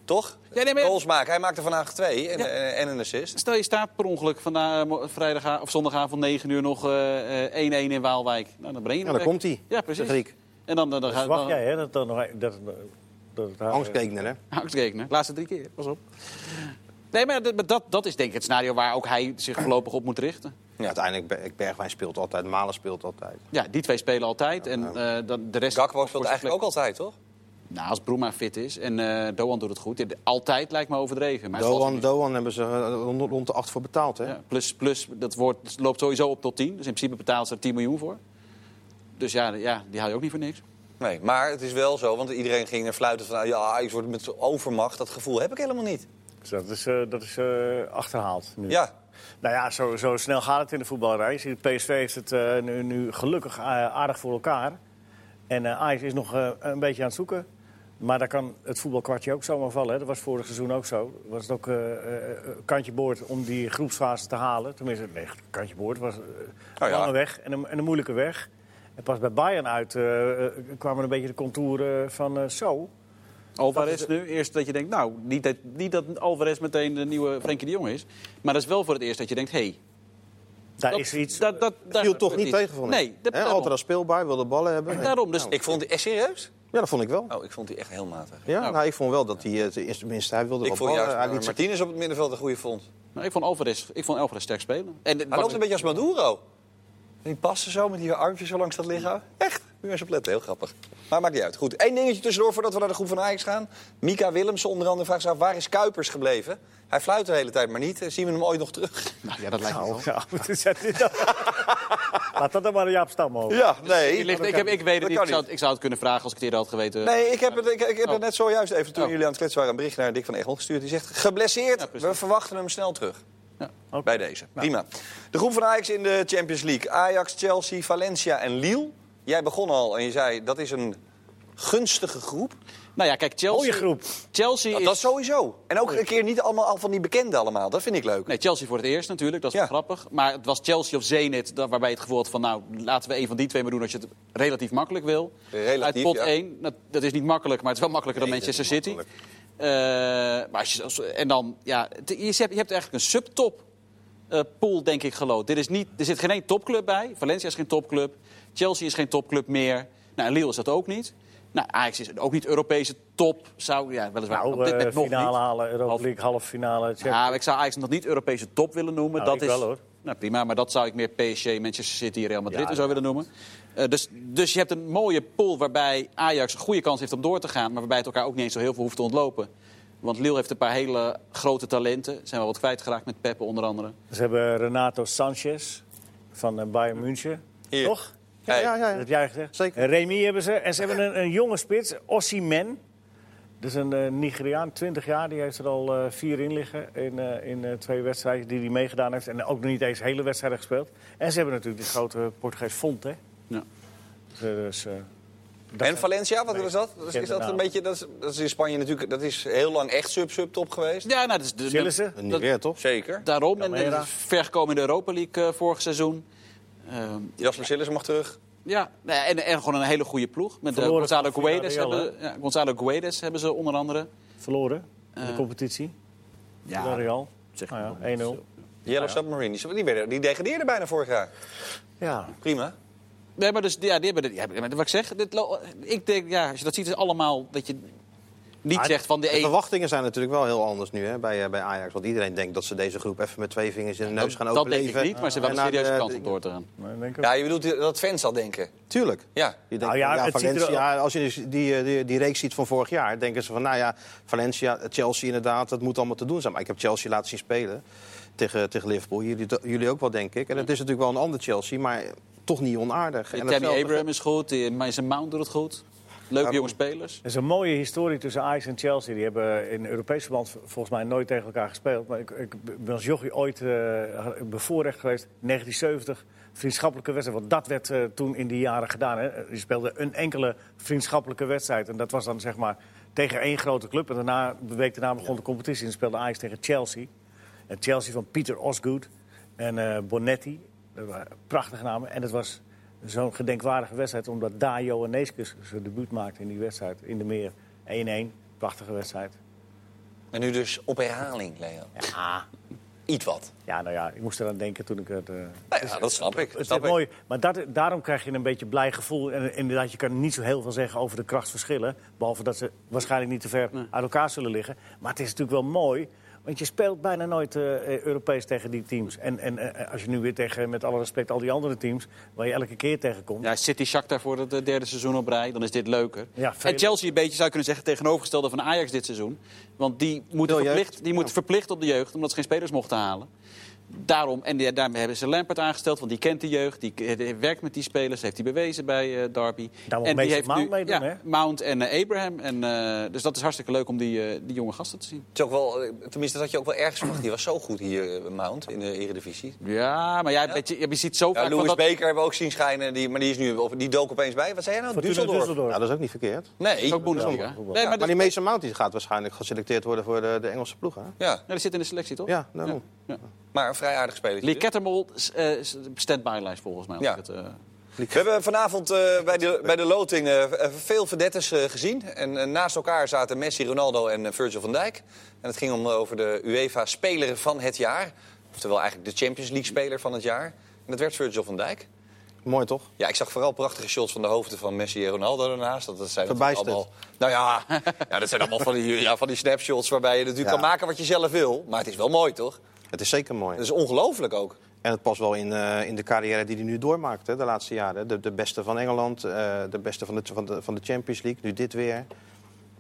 [SPEAKER 1] Toch?
[SPEAKER 3] Ja, nee, maar-
[SPEAKER 1] Goals maken. Hij maakte vandaag twee en, en, en een assist.
[SPEAKER 3] Stel je staat per ongeluk vandaag, eh, vrijdag, of zondagavond 9 uur nog eh, eh, 1-1 in Waalwijk. Nou, dan breng je
[SPEAKER 4] Ja,
[SPEAKER 3] hem
[SPEAKER 4] dan
[SPEAKER 3] weg.
[SPEAKER 4] komt hij.
[SPEAKER 3] Ja, precies.
[SPEAKER 4] De Griek.
[SPEAKER 3] En dan, dan, dan
[SPEAKER 2] Dus
[SPEAKER 3] gaat
[SPEAKER 2] wacht
[SPEAKER 3] dan,
[SPEAKER 2] jij, hè? Dat, dan nog, dat, dat het haar-
[SPEAKER 4] Angstkekener, hè?
[SPEAKER 3] Nou, Angstrekenen. Laatste drie keer, pas op. Nee, maar dat- dat, dat is denk ik het scenario waar ook hij zich voorlopig op moet richten.
[SPEAKER 1] Ja.
[SPEAKER 4] Uiteindelijk, Ber- Bergwijn speelt altijd, Malen speelt altijd.
[SPEAKER 3] Ja, die twee spelen altijd. En eh, dan de rest...
[SPEAKER 1] Gakpo
[SPEAKER 3] voor
[SPEAKER 1] speelt
[SPEAKER 3] zijn
[SPEAKER 1] eigenlijk ook altijd, toch?
[SPEAKER 3] plek. Nou, als Broema fit is en eh, Doan doet het goed. Ja, de- Altijd lijkt me overdreven. Maar hij valt
[SPEAKER 4] Doan,
[SPEAKER 3] niet.
[SPEAKER 4] Doan hebben ze eh, rond, rond de acht voor betaald, hè?
[SPEAKER 3] Ja, plus, plus, dat wordt, loopt sowieso op tot 10. Dus in principe betaalt ze er 10 miljoen voor. Dus ja, ja, die haal je ook niet voor niks.
[SPEAKER 1] Nee, maar het is wel zo, want iedereen ging er fluiten van... ja, Ajax wordt met zo'n overmacht. Dat gevoel heb ik helemaal niet.
[SPEAKER 2] Dus dat is, eh, dat is eh, achterhaald nu.
[SPEAKER 1] Ja,
[SPEAKER 2] Nou ja, zo, zo snel gaat het in de voetballerij. Je ziet, PSV heeft het eh, nu, nu gelukkig eh, aardig voor elkaar. En eh Ajax is nog eh, een beetje aan het zoeken. Maar daar kan het voetbalkwartje ook zomaar vallen. Hè. Dat was vorig seizoen ook zo. Was het ook eh, eh, kantje boord om die groepsfase te halen. Tenminste, nee, kantje boord was eh, een
[SPEAKER 1] Oh ja.
[SPEAKER 2] lange weg en een, en een moeilijke weg. En pas bij Bayern uit eh, eh, kwamen een beetje de contouren van eh, zo.
[SPEAKER 3] Alvarez nu, eerst dat je denkt, nou, niet dat, niet dat Alvarez meteen de nieuwe Frenkie de Jong is. Maar dat is wel voor het eerst dat je denkt, hé... Hey,
[SPEAKER 2] Daar
[SPEAKER 3] dat-
[SPEAKER 2] is iets.
[SPEAKER 3] dat- dat- daar
[SPEAKER 4] Viel toch
[SPEAKER 3] gebeurt
[SPEAKER 4] niet
[SPEAKER 3] iets.
[SPEAKER 4] tegen van
[SPEAKER 3] Nee, dat, daarom.
[SPEAKER 4] Altijd als speelbaar, wilde ballen hebben.
[SPEAKER 3] Daarom, dus
[SPEAKER 1] ik nou? vond die echt serieus.
[SPEAKER 4] Ja, dat vond ik wel.
[SPEAKER 1] Oh, ik vond die echt heel matig.
[SPEAKER 4] Ja, nou, ik vond wel dat hij, eh, ten eerste- tenminste, hij wilde
[SPEAKER 1] Ik
[SPEAKER 4] wel
[SPEAKER 1] vond
[SPEAKER 4] ballen.
[SPEAKER 1] juist
[SPEAKER 4] hij
[SPEAKER 1] uh,
[SPEAKER 4] liet zich-
[SPEAKER 1] Martinez op het middenveld een goede vond.
[SPEAKER 3] Nou, ik, vond Alvarez, ik vond Alvarez sterk spelen. En,
[SPEAKER 1] Hij loopt Ah, een beetje als Maduro. En die passen zo met die armpjes zo langs dat lichaam. Echt, nu eens op letten. Heel grappig. Maar maakt niet uit. Goed, één dingetje tussendoor voordat we naar de groep van Ajax gaan. Mika Willemsen onder andere vraagt zich af, waar is Kuipers gebleven? Hij fluit de hele tijd maar niet. Eh, Zien we hem ooit nog terug?
[SPEAKER 3] Nou, ja, dat lijkt me wel.
[SPEAKER 2] Ja, wat is dat? Laat dat dan maar aan Jaap Stam over.
[SPEAKER 1] Ja,
[SPEAKER 3] Die Dus ligt- ik, heb, ik weet het Oh, niet. Ik zou, het- ik zou het kunnen vragen als ik het eerder had geweten.
[SPEAKER 1] Nee, ik heb, het, ik, ik heb het net zojuist even toen
[SPEAKER 3] Eh, Oh.
[SPEAKER 1] jullie aan het kletsen waren... een bericht naar Dick van Egmond gestuurd. Die zegt, geblesseerd,
[SPEAKER 3] Ja, precies.
[SPEAKER 1] we verwachten hem snel terug.
[SPEAKER 3] Ja.
[SPEAKER 2] Oké. Nou.
[SPEAKER 1] Bij deze, prima. De groep van Ajax in de Champions League. Ajax, Chelsea, Valencia en Lille. Jij begon al en je zei, dat is een gunstige groep.
[SPEAKER 3] Nou ja, kijk, Chelsea...
[SPEAKER 2] Mooie groep.
[SPEAKER 3] Chelsea
[SPEAKER 1] Dat,
[SPEAKER 3] is...
[SPEAKER 1] dat sowieso. En ook een keer niet allemaal al van die bekenden allemaal. Dat vind ik leuk.
[SPEAKER 3] Nee, Chelsea voor het eerst natuurlijk, dat is
[SPEAKER 1] Ja.
[SPEAKER 3] wel grappig. Maar het was Chelsea of Zenit, da- waarbij je het gevoel had van... nou, laten we een van die twee maar doen als je het relatief makkelijk wil.
[SPEAKER 1] Relatief,
[SPEAKER 3] Uit pot
[SPEAKER 1] ja.
[SPEAKER 3] 1, dat, dat is niet makkelijk, maar het is wel makkelijker dan Manchester City. Eh, maar als je, als- en dan, ja, het- je hebt, je hebt eigenlijk een subtop eh, pool, denk ik, geloot. Dit is niet, er zit geen één topclub bij. Valencia is geen topclub. Chelsea is geen topclub meer. Nou, en Lille is dat ook niet. Nou, Ajax is ook niet Europese top. Zou, ja, weliswaar
[SPEAKER 2] Nou,
[SPEAKER 3] op dit moment
[SPEAKER 2] eh,
[SPEAKER 3] nog
[SPEAKER 2] finale
[SPEAKER 3] niet.
[SPEAKER 2] halen, Europa
[SPEAKER 3] Half-
[SPEAKER 2] League, halve finale. Champions-
[SPEAKER 3] Ja, maar ik zou Ajax nog niet Europese top willen noemen.
[SPEAKER 2] Nou, ik
[SPEAKER 3] dat is,
[SPEAKER 2] wel, hoor.
[SPEAKER 3] Nou, prima, maar dat zou ik meer PSG, Manchester City, Real Madrid
[SPEAKER 2] Ja,
[SPEAKER 3] en zo willen noemen. Eh, dus, dus je hebt een mooie pool waarbij Ajax een goede kans heeft om door te gaan... maar waarbij het elkaar ook niet eens zo heel veel hoeft te ontlopen. Want Lille heeft een paar hele grote talenten. Zijn wel wat kwijtgeraakt met Peppe onder andere.
[SPEAKER 2] Ze hebben Renato Sanchez van eh, Bayern München.
[SPEAKER 1] Hier.
[SPEAKER 2] Toch?
[SPEAKER 1] Hey,
[SPEAKER 4] Ja, ja,
[SPEAKER 2] Dat
[SPEAKER 4] ja.
[SPEAKER 2] heb jij gezegd.
[SPEAKER 4] Zeker.
[SPEAKER 2] En Remy hebben ze. En ze hebben een, een jonge spits, Ossiman. Dat is een eh, Nigeriaan, 20 jaar. Die heeft er al eh, vier in liggen in, eh, in eh, twee wedstrijden die hij meegedaan heeft. En ook nog niet eens hele wedstrijden gespeeld. En ze hebben natuurlijk die grote Portugees Font, hè.
[SPEAKER 3] Ja.
[SPEAKER 2] Dus, eh,
[SPEAKER 1] en Valencia, wat is dat? Dat Is, is
[SPEAKER 2] bekende
[SPEAKER 1] dat een
[SPEAKER 2] naam.
[SPEAKER 1] beetje, dat is, dat is in Spanje natuurlijk, dat is heel lang echt sub-sub-top geweest.
[SPEAKER 3] Ja, nou, dat is de,
[SPEAKER 2] Zullen ze?
[SPEAKER 4] Niet
[SPEAKER 3] dat-
[SPEAKER 4] weer, toch?
[SPEAKER 1] Zeker.
[SPEAKER 3] daarom. En,
[SPEAKER 2] Camara.
[SPEAKER 3] en vergekomen in de Europa League eh, vorig seizoen. Ehm,
[SPEAKER 1] Jasper Sillis mag terug.
[SPEAKER 3] Ja, nou ja, en, en gewoon een hele goede ploeg. Met eh,
[SPEAKER 2] Verloren
[SPEAKER 3] Gonzalo,
[SPEAKER 2] van Villarreal,
[SPEAKER 3] Guedes hebben, ja, Gonzalo Guedes hebben ze onder andere.
[SPEAKER 2] verloren in de
[SPEAKER 3] Eh,
[SPEAKER 2] competitie.
[SPEAKER 3] Ja,
[SPEAKER 2] Real.
[SPEAKER 3] zeg
[SPEAKER 2] Nou
[SPEAKER 3] maar.
[SPEAKER 2] ja, 1-0.
[SPEAKER 1] Yellow Submarine, die, die, werden- die degradeerde bijna vorig jaar.
[SPEAKER 2] Ja.
[SPEAKER 1] Prima.
[SPEAKER 3] Nee, maar dus, ja, die hebben, dit- ja, maar wat ik zeg, dit, lo- ik denk, ja, als je dat ziet, is allemaal dat je niet
[SPEAKER 4] Maar
[SPEAKER 3] zegt van de E-
[SPEAKER 4] De
[SPEAKER 3] een...
[SPEAKER 4] verwachtingen zijn natuurlijk wel heel anders nu hè, bij, eh, bij Ajax. Want iedereen denkt dat ze deze groep even met twee vingers in de neus gaan
[SPEAKER 3] Dat denk
[SPEAKER 4] overleven.
[SPEAKER 3] ik niet, maar ze hebben wel
[SPEAKER 4] En eh,
[SPEAKER 3] een serieuze
[SPEAKER 4] aan de-
[SPEAKER 3] kans om door te gaan.
[SPEAKER 2] Maar Nou, ik denk ook-
[SPEAKER 1] Ja, je bedoelt dat fans dat denken.
[SPEAKER 4] Tuurlijk.
[SPEAKER 1] Ja.
[SPEAKER 4] Je denkt,
[SPEAKER 2] Nou ja,
[SPEAKER 4] ja,
[SPEAKER 2] het ziet er-
[SPEAKER 4] Valencia, als je dus die, eh, die, die reeks ziet van vorig jaar, denken ze van, nou ja, Valencia, Chelsea inderdaad, dat moet allemaal te doen zijn. Maar ik heb Chelsea laten zien spelen tegen, tegen Liverpool. Jullie, jullie ook wel, denk ik. En het is natuurlijk wel een ander Chelsea, maar toch niet onaardig. En
[SPEAKER 3] Tammy
[SPEAKER 4] datzelfde-
[SPEAKER 3] eh, Abraham is goed, die- Mason Mount doet het goed. Leuke jonge spelers.
[SPEAKER 2] Er is een mooie historie tussen Ajax en Chelsea. Die hebben in Europees verband volgens mij nooit tegen elkaar gespeeld. Maar ik, ik ben als jochie ooit eh, bevoorrecht geweest, 1970, vriendschappelijke wedstrijd. Want dat werd eh, toen in die jaren gedaan. Hè. Je speelde een enkele vriendschappelijke wedstrijd. En dat was dan zeg maar tegen één grote club. En daarna, de week daarna begon de competitie en speelde Ajax tegen Chelsea. En Chelsea van Pieter Osgood en eh, Bonetti. Dat waren prachtige namen. En het was zo'n gedenkwaardige wedstrijd, omdat daar Johanneskus zijn debuut maakte in die wedstrijd. In de meer 1-1. Prachtige wedstrijd.
[SPEAKER 1] En nu dus op herhaling, Leon.
[SPEAKER 2] Ja.
[SPEAKER 1] Iets wat.
[SPEAKER 2] ja, nou ja, ik moest eraan denken toen ik het. eh,
[SPEAKER 1] Nou ja, dat snap ik.
[SPEAKER 2] het is
[SPEAKER 1] snap ik.
[SPEAKER 2] mooi, maar dat, daarom krijg je een beetje blij gevoel. En inderdaad, je kan niet zo heel veel zeggen over de krachtverschillen. Behalve dat ze waarschijnlijk niet te ver uit elkaar zullen liggen. Maar het is natuurlijk wel mooi, want je speelt bijna nooit eh, Europees tegen die teams. En, en eh, als je nu weer tegen, met alle respect, al die andere teams... waar je elke keer tegenkomt.
[SPEAKER 3] Ja, City Shakhtar voor het eh, derde seizoen op rij, dan is dit leuker.
[SPEAKER 2] Ja, veel-
[SPEAKER 3] en Chelsea een beetje zou je kunnen zeggen tegenovergestelde van Ajax dit seizoen. Want die moeten,
[SPEAKER 4] Veel jeugd.
[SPEAKER 3] verplicht, die moeten verplicht op de jeugd, omdat ze geen spelers mochten halen. Daarom, en die- daarmee hebben ze Lampert aangesteld, want die kent de jeugd. Die, eh, die werkt met die spelers, heeft hij bewezen bij eh, Derby.
[SPEAKER 2] Daar moet
[SPEAKER 3] en
[SPEAKER 2] Mason Mount mee doen,
[SPEAKER 3] ja,
[SPEAKER 2] hè?
[SPEAKER 3] Mount en eh, Abraham. En, eh, dus dat is hartstikke leuk om die, eh, die jonge gasten te zien.
[SPEAKER 1] Het is ook wel, eh, tenminste, dat had je ook wel ergens verwacht. Die was zo goed hier, eh, Mount, in de Eredivisie.
[SPEAKER 3] Ja, maar jij, weet je, je ziet zo
[SPEAKER 1] Ja,
[SPEAKER 3] vaak
[SPEAKER 1] Louis
[SPEAKER 3] van dat...
[SPEAKER 1] Beker hebben we ook zien schijnen, die, maar die, is nu, of, die dook opeens bij. Wat zei jij nou?
[SPEAKER 2] Fortuna
[SPEAKER 1] Düsseldorf?
[SPEAKER 2] Düsseldorf.
[SPEAKER 4] Ja, dat is ook niet verkeerd.
[SPEAKER 1] Nee.
[SPEAKER 3] Ook Bundesliga.
[SPEAKER 4] Ja,
[SPEAKER 3] Nee, maar dus-
[SPEAKER 4] maar
[SPEAKER 3] dat-
[SPEAKER 4] die Mason Mount die gaat waarschijnlijk geselecteerd worden voor de, de Engelse ploeg. Hè?
[SPEAKER 1] Ja,
[SPEAKER 3] ja, die zit in de selectie, toch?
[SPEAKER 4] Ja, daarom.
[SPEAKER 1] maar een vrij aardig speler.
[SPEAKER 3] Lee Kettermol, eh, stand-by lijst volgens mij. als
[SPEAKER 1] Ja.
[SPEAKER 3] ik het, eh,
[SPEAKER 1] We hebben vanavond eh, bij, de, bij de loting eh, eh, veel verdetters eh, gezien. En eh, naast elkaar zaten Messi, Ronaldo en eh, Virgil van Dijk. En het ging om eh, over de UEFA-speler van het jaar. Oftewel eigenlijk de Champions League-speler van het jaar. En dat werd Virgil van Dijk.
[SPEAKER 4] Mooi toch?
[SPEAKER 1] Ja, ik zag vooral prachtige shots van de hoofden van Messi en Ronaldo daarnaast. Dat, dat zijn natuurlijk
[SPEAKER 4] Verbijsterd.
[SPEAKER 1] allemaal. Nou ja, ja, dat zijn allemaal van die, ja, van die snapshots waarbij je natuurlijk
[SPEAKER 4] Ja.
[SPEAKER 1] kan maken wat je zelf wil. Maar het is wel mooi, toch?
[SPEAKER 4] Het is zeker mooi.
[SPEAKER 1] Dat is ongelooflijk ook.
[SPEAKER 4] Dus- En het past wel in, eh, in de carrière die hij nu doormaakt hè, de laatste jaren. De, de beste van Engeland, eh, de beste van de, van, de, van de Champions League, nu dit weer.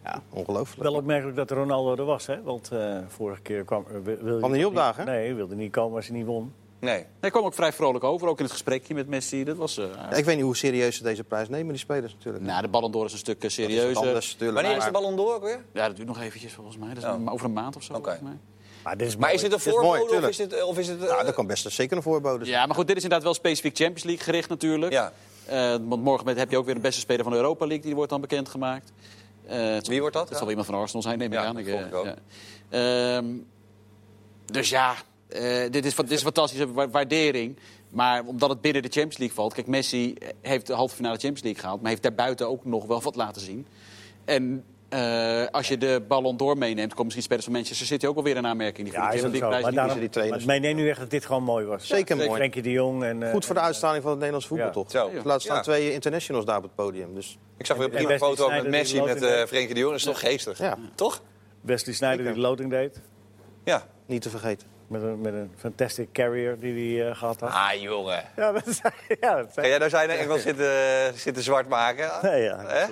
[SPEAKER 4] Ja, ongelooflijk.
[SPEAKER 2] Wel opmerkelijk dat Ronaldo er was, hè? Want eh, vorige keer kwam... eh, wil- wilde
[SPEAKER 4] Kwam hij niet opdagen?
[SPEAKER 2] Nee, wilde niet komen als hij niet won.
[SPEAKER 1] Nee.
[SPEAKER 3] Hij kwam ook vrij vrolijk over, ook in het gesprekje met Messi. Dat was, eh,
[SPEAKER 4] Ja, ik weet niet hoe serieus ze deze prijs nemen, die spelers natuurlijk.
[SPEAKER 3] nou, de Ballon d'Or is een stuk eh,
[SPEAKER 4] Dat is wat
[SPEAKER 3] serieuzer.
[SPEAKER 4] anders, natuurlijk.
[SPEAKER 1] Wanneer is de
[SPEAKER 4] Maar-
[SPEAKER 1] Ballon d'Or ook weer?
[SPEAKER 3] Ja, dat duurt nog eventjes volgens mij. Dat is
[SPEAKER 1] Oh.
[SPEAKER 3] maar over een maand of zo.
[SPEAKER 1] Oké.
[SPEAKER 3] volgens mij.
[SPEAKER 2] Maar dit is
[SPEAKER 1] Maar
[SPEAKER 2] mooi.
[SPEAKER 1] is dit een
[SPEAKER 4] is mooi,
[SPEAKER 1] voorbode of
[SPEAKER 4] tuurlijk.
[SPEAKER 1] is dit... Of is dit eh,
[SPEAKER 4] Ja, dat kan Nou, best zeker een voorbode zijn.
[SPEAKER 3] Ja, maar goed, dit is inderdaad wel specifiek Champions League gericht natuurlijk.
[SPEAKER 1] dus- Ja.
[SPEAKER 3] Eh, want morgen met, heb je ook weer de beste speler van de Europa League. Die wordt dan bekendgemaakt. Eh, het-
[SPEAKER 1] Wie wordt dat?
[SPEAKER 3] Dat zal wel iemand van Arsenal zijn, neem ik
[SPEAKER 1] Ja,
[SPEAKER 3] aan.
[SPEAKER 1] dat
[SPEAKER 3] Ik, eh,
[SPEAKER 1] vond ik ook.
[SPEAKER 3] ja. Ehm, dus ja, eh, dit, is, fa- dit is fantastische wa- waardering. Maar omdat het binnen de Champions League valt... Kijk, Messi eh, heeft de halve finale Champions League gehaald... maar heeft daarbuiten ook nog wel wat laten zien. En eh, als je de Ballon d'Or meeneemt... komen misschien spelers van Manchester City ook wel weer in aanmerking. Die voor
[SPEAKER 2] Ja,
[SPEAKER 3] de
[SPEAKER 2] is ook
[SPEAKER 3] Champions
[SPEAKER 2] zo.
[SPEAKER 3] League
[SPEAKER 2] Maar
[SPEAKER 3] prijs
[SPEAKER 2] daarom,
[SPEAKER 3] niet
[SPEAKER 4] kiezen die trainers.
[SPEAKER 2] maar ik meen nu echt dat dit gewoon mooi was.
[SPEAKER 4] Zeker mooi.
[SPEAKER 2] Frenkie de Jong en... eh,
[SPEAKER 4] Goed voor de uitstraling van het Nederlands voetbal,
[SPEAKER 2] Ja.
[SPEAKER 4] toch?
[SPEAKER 1] Zo.
[SPEAKER 4] Er Laat staan
[SPEAKER 1] Ja.
[SPEAKER 4] twee internationals daar op het podium. Dus
[SPEAKER 1] Ik zag weer een
[SPEAKER 2] En- en
[SPEAKER 1] prima
[SPEAKER 2] Wesley
[SPEAKER 1] foto ook met
[SPEAKER 2] Sneijder die
[SPEAKER 1] Messi met
[SPEAKER 2] loopt in
[SPEAKER 1] eh
[SPEAKER 2] de-
[SPEAKER 1] Frenkie de Jong. Dat is toch geestig?
[SPEAKER 4] Ja.
[SPEAKER 1] Toch?
[SPEAKER 2] Wesley Sneijder die de loting deed.
[SPEAKER 1] Ja.
[SPEAKER 4] niet te vergeten.
[SPEAKER 2] Met een, met een fantastic carrier die hij eh, gehad had.
[SPEAKER 1] Ah, jongen.
[SPEAKER 2] Ja, dat zei ja, dat
[SPEAKER 1] Ga
[SPEAKER 2] zei
[SPEAKER 1] jij nou zijn echt wel zitten, eh, zitten zwart maken?
[SPEAKER 2] Nee, ja.
[SPEAKER 1] Hè?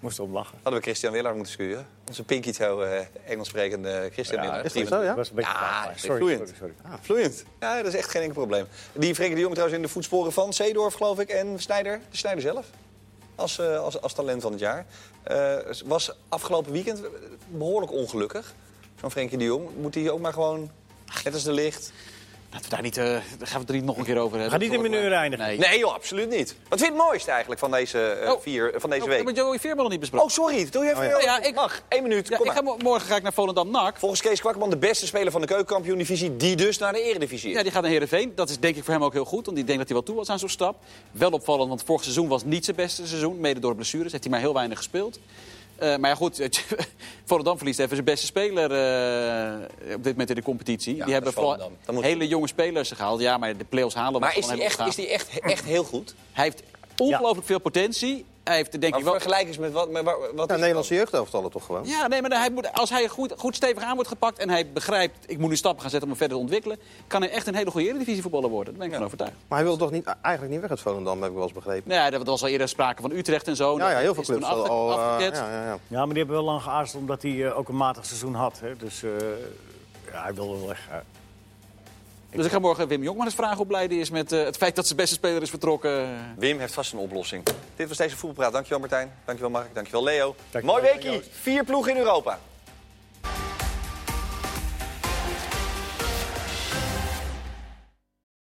[SPEAKER 2] Moest om lachen.
[SPEAKER 1] Hadden we Christian Willard moeten schuren. Onze pinky toe eh Engels sprekende Christian Willard.
[SPEAKER 4] Is dat zo,
[SPEAKER 2] Dat
[SPEAKER 4] ja?
[SPEAKER 2] was een beetje
[SPEAKER 1] Ja,
[SPEAKER 2] flauw.
[SPEAKER 1] is
[SPEAKER 2] sorry,
[SPEAKER 1] vloeiend.
[SPEAKER 2] sorry, sorry.
[SPEAKER 1] Ah, vloeiend. Ja, dat is echt geen enkel probleem. Die Frenkie de Jong trouwens in de voetsporen van Zeedorf, geloof ik. En Snijder, de Snijder zelf. Als, eh, als, als talent van het jaar. Eh, was afgelopen weekend eh, behoorlijk ongelukkig. Zo'n Frenkie de Jong. Moet hij ook maar gewoon... Net als de licht.
[SPEAKER 3] Laten we daar niet, eh, daar gaan we het er niet nog een keer over hebben.
[SPEAKER 2] Ga niet in mijn uur eindigen.
[SPEAKER 3] Nee.
[SPEAKER 1] Nee, joh, absoluut niet. Wat vind je het mooiste eigenlijk van deze, eh,
[SPEAKER 3] Oh.
[SPEAKER 1] vier, van deze
[SPEAKER 3] Oh,
[SPEAKER 1] week?
[SPEAKER 3] Maar Joey Veerman nog niet besproken.
[SPEAKER 1] Oh, sorry. Doe je even...
[SPEAKER 4] ja.
[SPEAKER 1] Oh,
[SPEAKER 3] Ja, ik-
[SPEAKER 1] Mag. Eén minuut.
[SPEAKER 3] Ja,
[SPEAKER 1] Kom
[SPEAKER 3] ik
[SPEAKER 1] maar.
[SPEAKER 3] ga, mo- morgen ga ik naar Volendam-NAC.
[SPEAKER 1] Volgens Kees Kwakman de beste speler van de keukenkampioen-divisie... die dus naar de eredivisie is.
[SPEAKER 3] Ja, die gaat naar Heerenveen. Dat is denk ik voor hem ook heel goed. Want ik denk dat hij wel toe was aan zo'n stap. Wel opvallend, want vorig seizoen was niet zijn beste seizoen. Mede door blessures. Heeft hij maar heel weinig gespeeld. Eh, maar ja, goed. Volendam verliest even zijn beste speler eh, op dit moment in de competitie.
[SPEAKER 1] dat
[SPEAKER 3] die hebben
[SPEAKER 1] is
[SPEAKER 3] vooral
[SPEAKER 1] Volendam. Dan moet-
[SPEAKER 3] hele jonge spelers gehaald. Ja, maar de play-offs halen
[SPEAKER 1] maar
[SPEAKER 3] was
[SPEAKER 1] is
[SPEAKER 3] gewoon
[SPEAKER 1] die echt,
[SPEAKER 3] helemaal
[SPEAKER 1] is die echt, echt heel goed?
[SPEAKER 3] gaaf. Hij heeft ongelooflijk veel potentie. Hij heeft denk
[SPEAKER 1] Maar
[SPEAKER 3] ik wel...
[SPEAKER 1] vergelijk eens met wat... Met, wat, wat is
[SPEAKER 4] Ja,
[SPEAKER 1] het
[SPEAKER 4] Nederlandse jeugdelftallen toch gewoon?
[SPEAKER 3] Ja, nee, maar hij moet, als hij goed, goed stevig aan wordt gepakt en hij begrijpt... ik moet nu stappen gaan zetten om me verder te ontwikkelen... kan hij echt een hele goede eredivisievoetballer worden. Daar ben ik van overtuigd.
[SPEAKER 4] Maar hij wil toch niet, eigenlijk niet weg uit Volendam, heb ik wel eens begrepen.
[SPEAKER 3] Nou ja, er was al eerder sprake van Utrecht en zo.
[SPEAKER 4] Ja, ja, heel veel
[SPEAKER 3] Nou, Is toen
[SPEAKER 4] clubs al.
[SPEAKER 3] afge-
[SPEAKER 4] al, eh,
[SPEAKER 3] afgeket.
[SPEAKER 4] ja, ja, ja.
[SPEAKER 2] Ja, maar die hebben wel lang geaarzeld eh, omdat hij eh, ook een matig seizoen had. Hè. Dus eh, ja, hij wilde wel weg.
[SPEAKER 3] Dus ik ga morgen Wim Jongman eens vragen hoe blij die is met eh, het feit dat zijn beste speler is vertrokken.
[SPEAKER 1] Wim heeft vast een oplossing. Dit was deze voetbalpraat. Dankjewel Martijn. Dankjewel Mark. Dankjewel Leo.
[SPEAKER 2] Dankjewel,
[SPEAKER 1] Mooi weekie.
[SPEAKER 2] Joost.
[SPEAKER 1] Vier ploegen in Europa.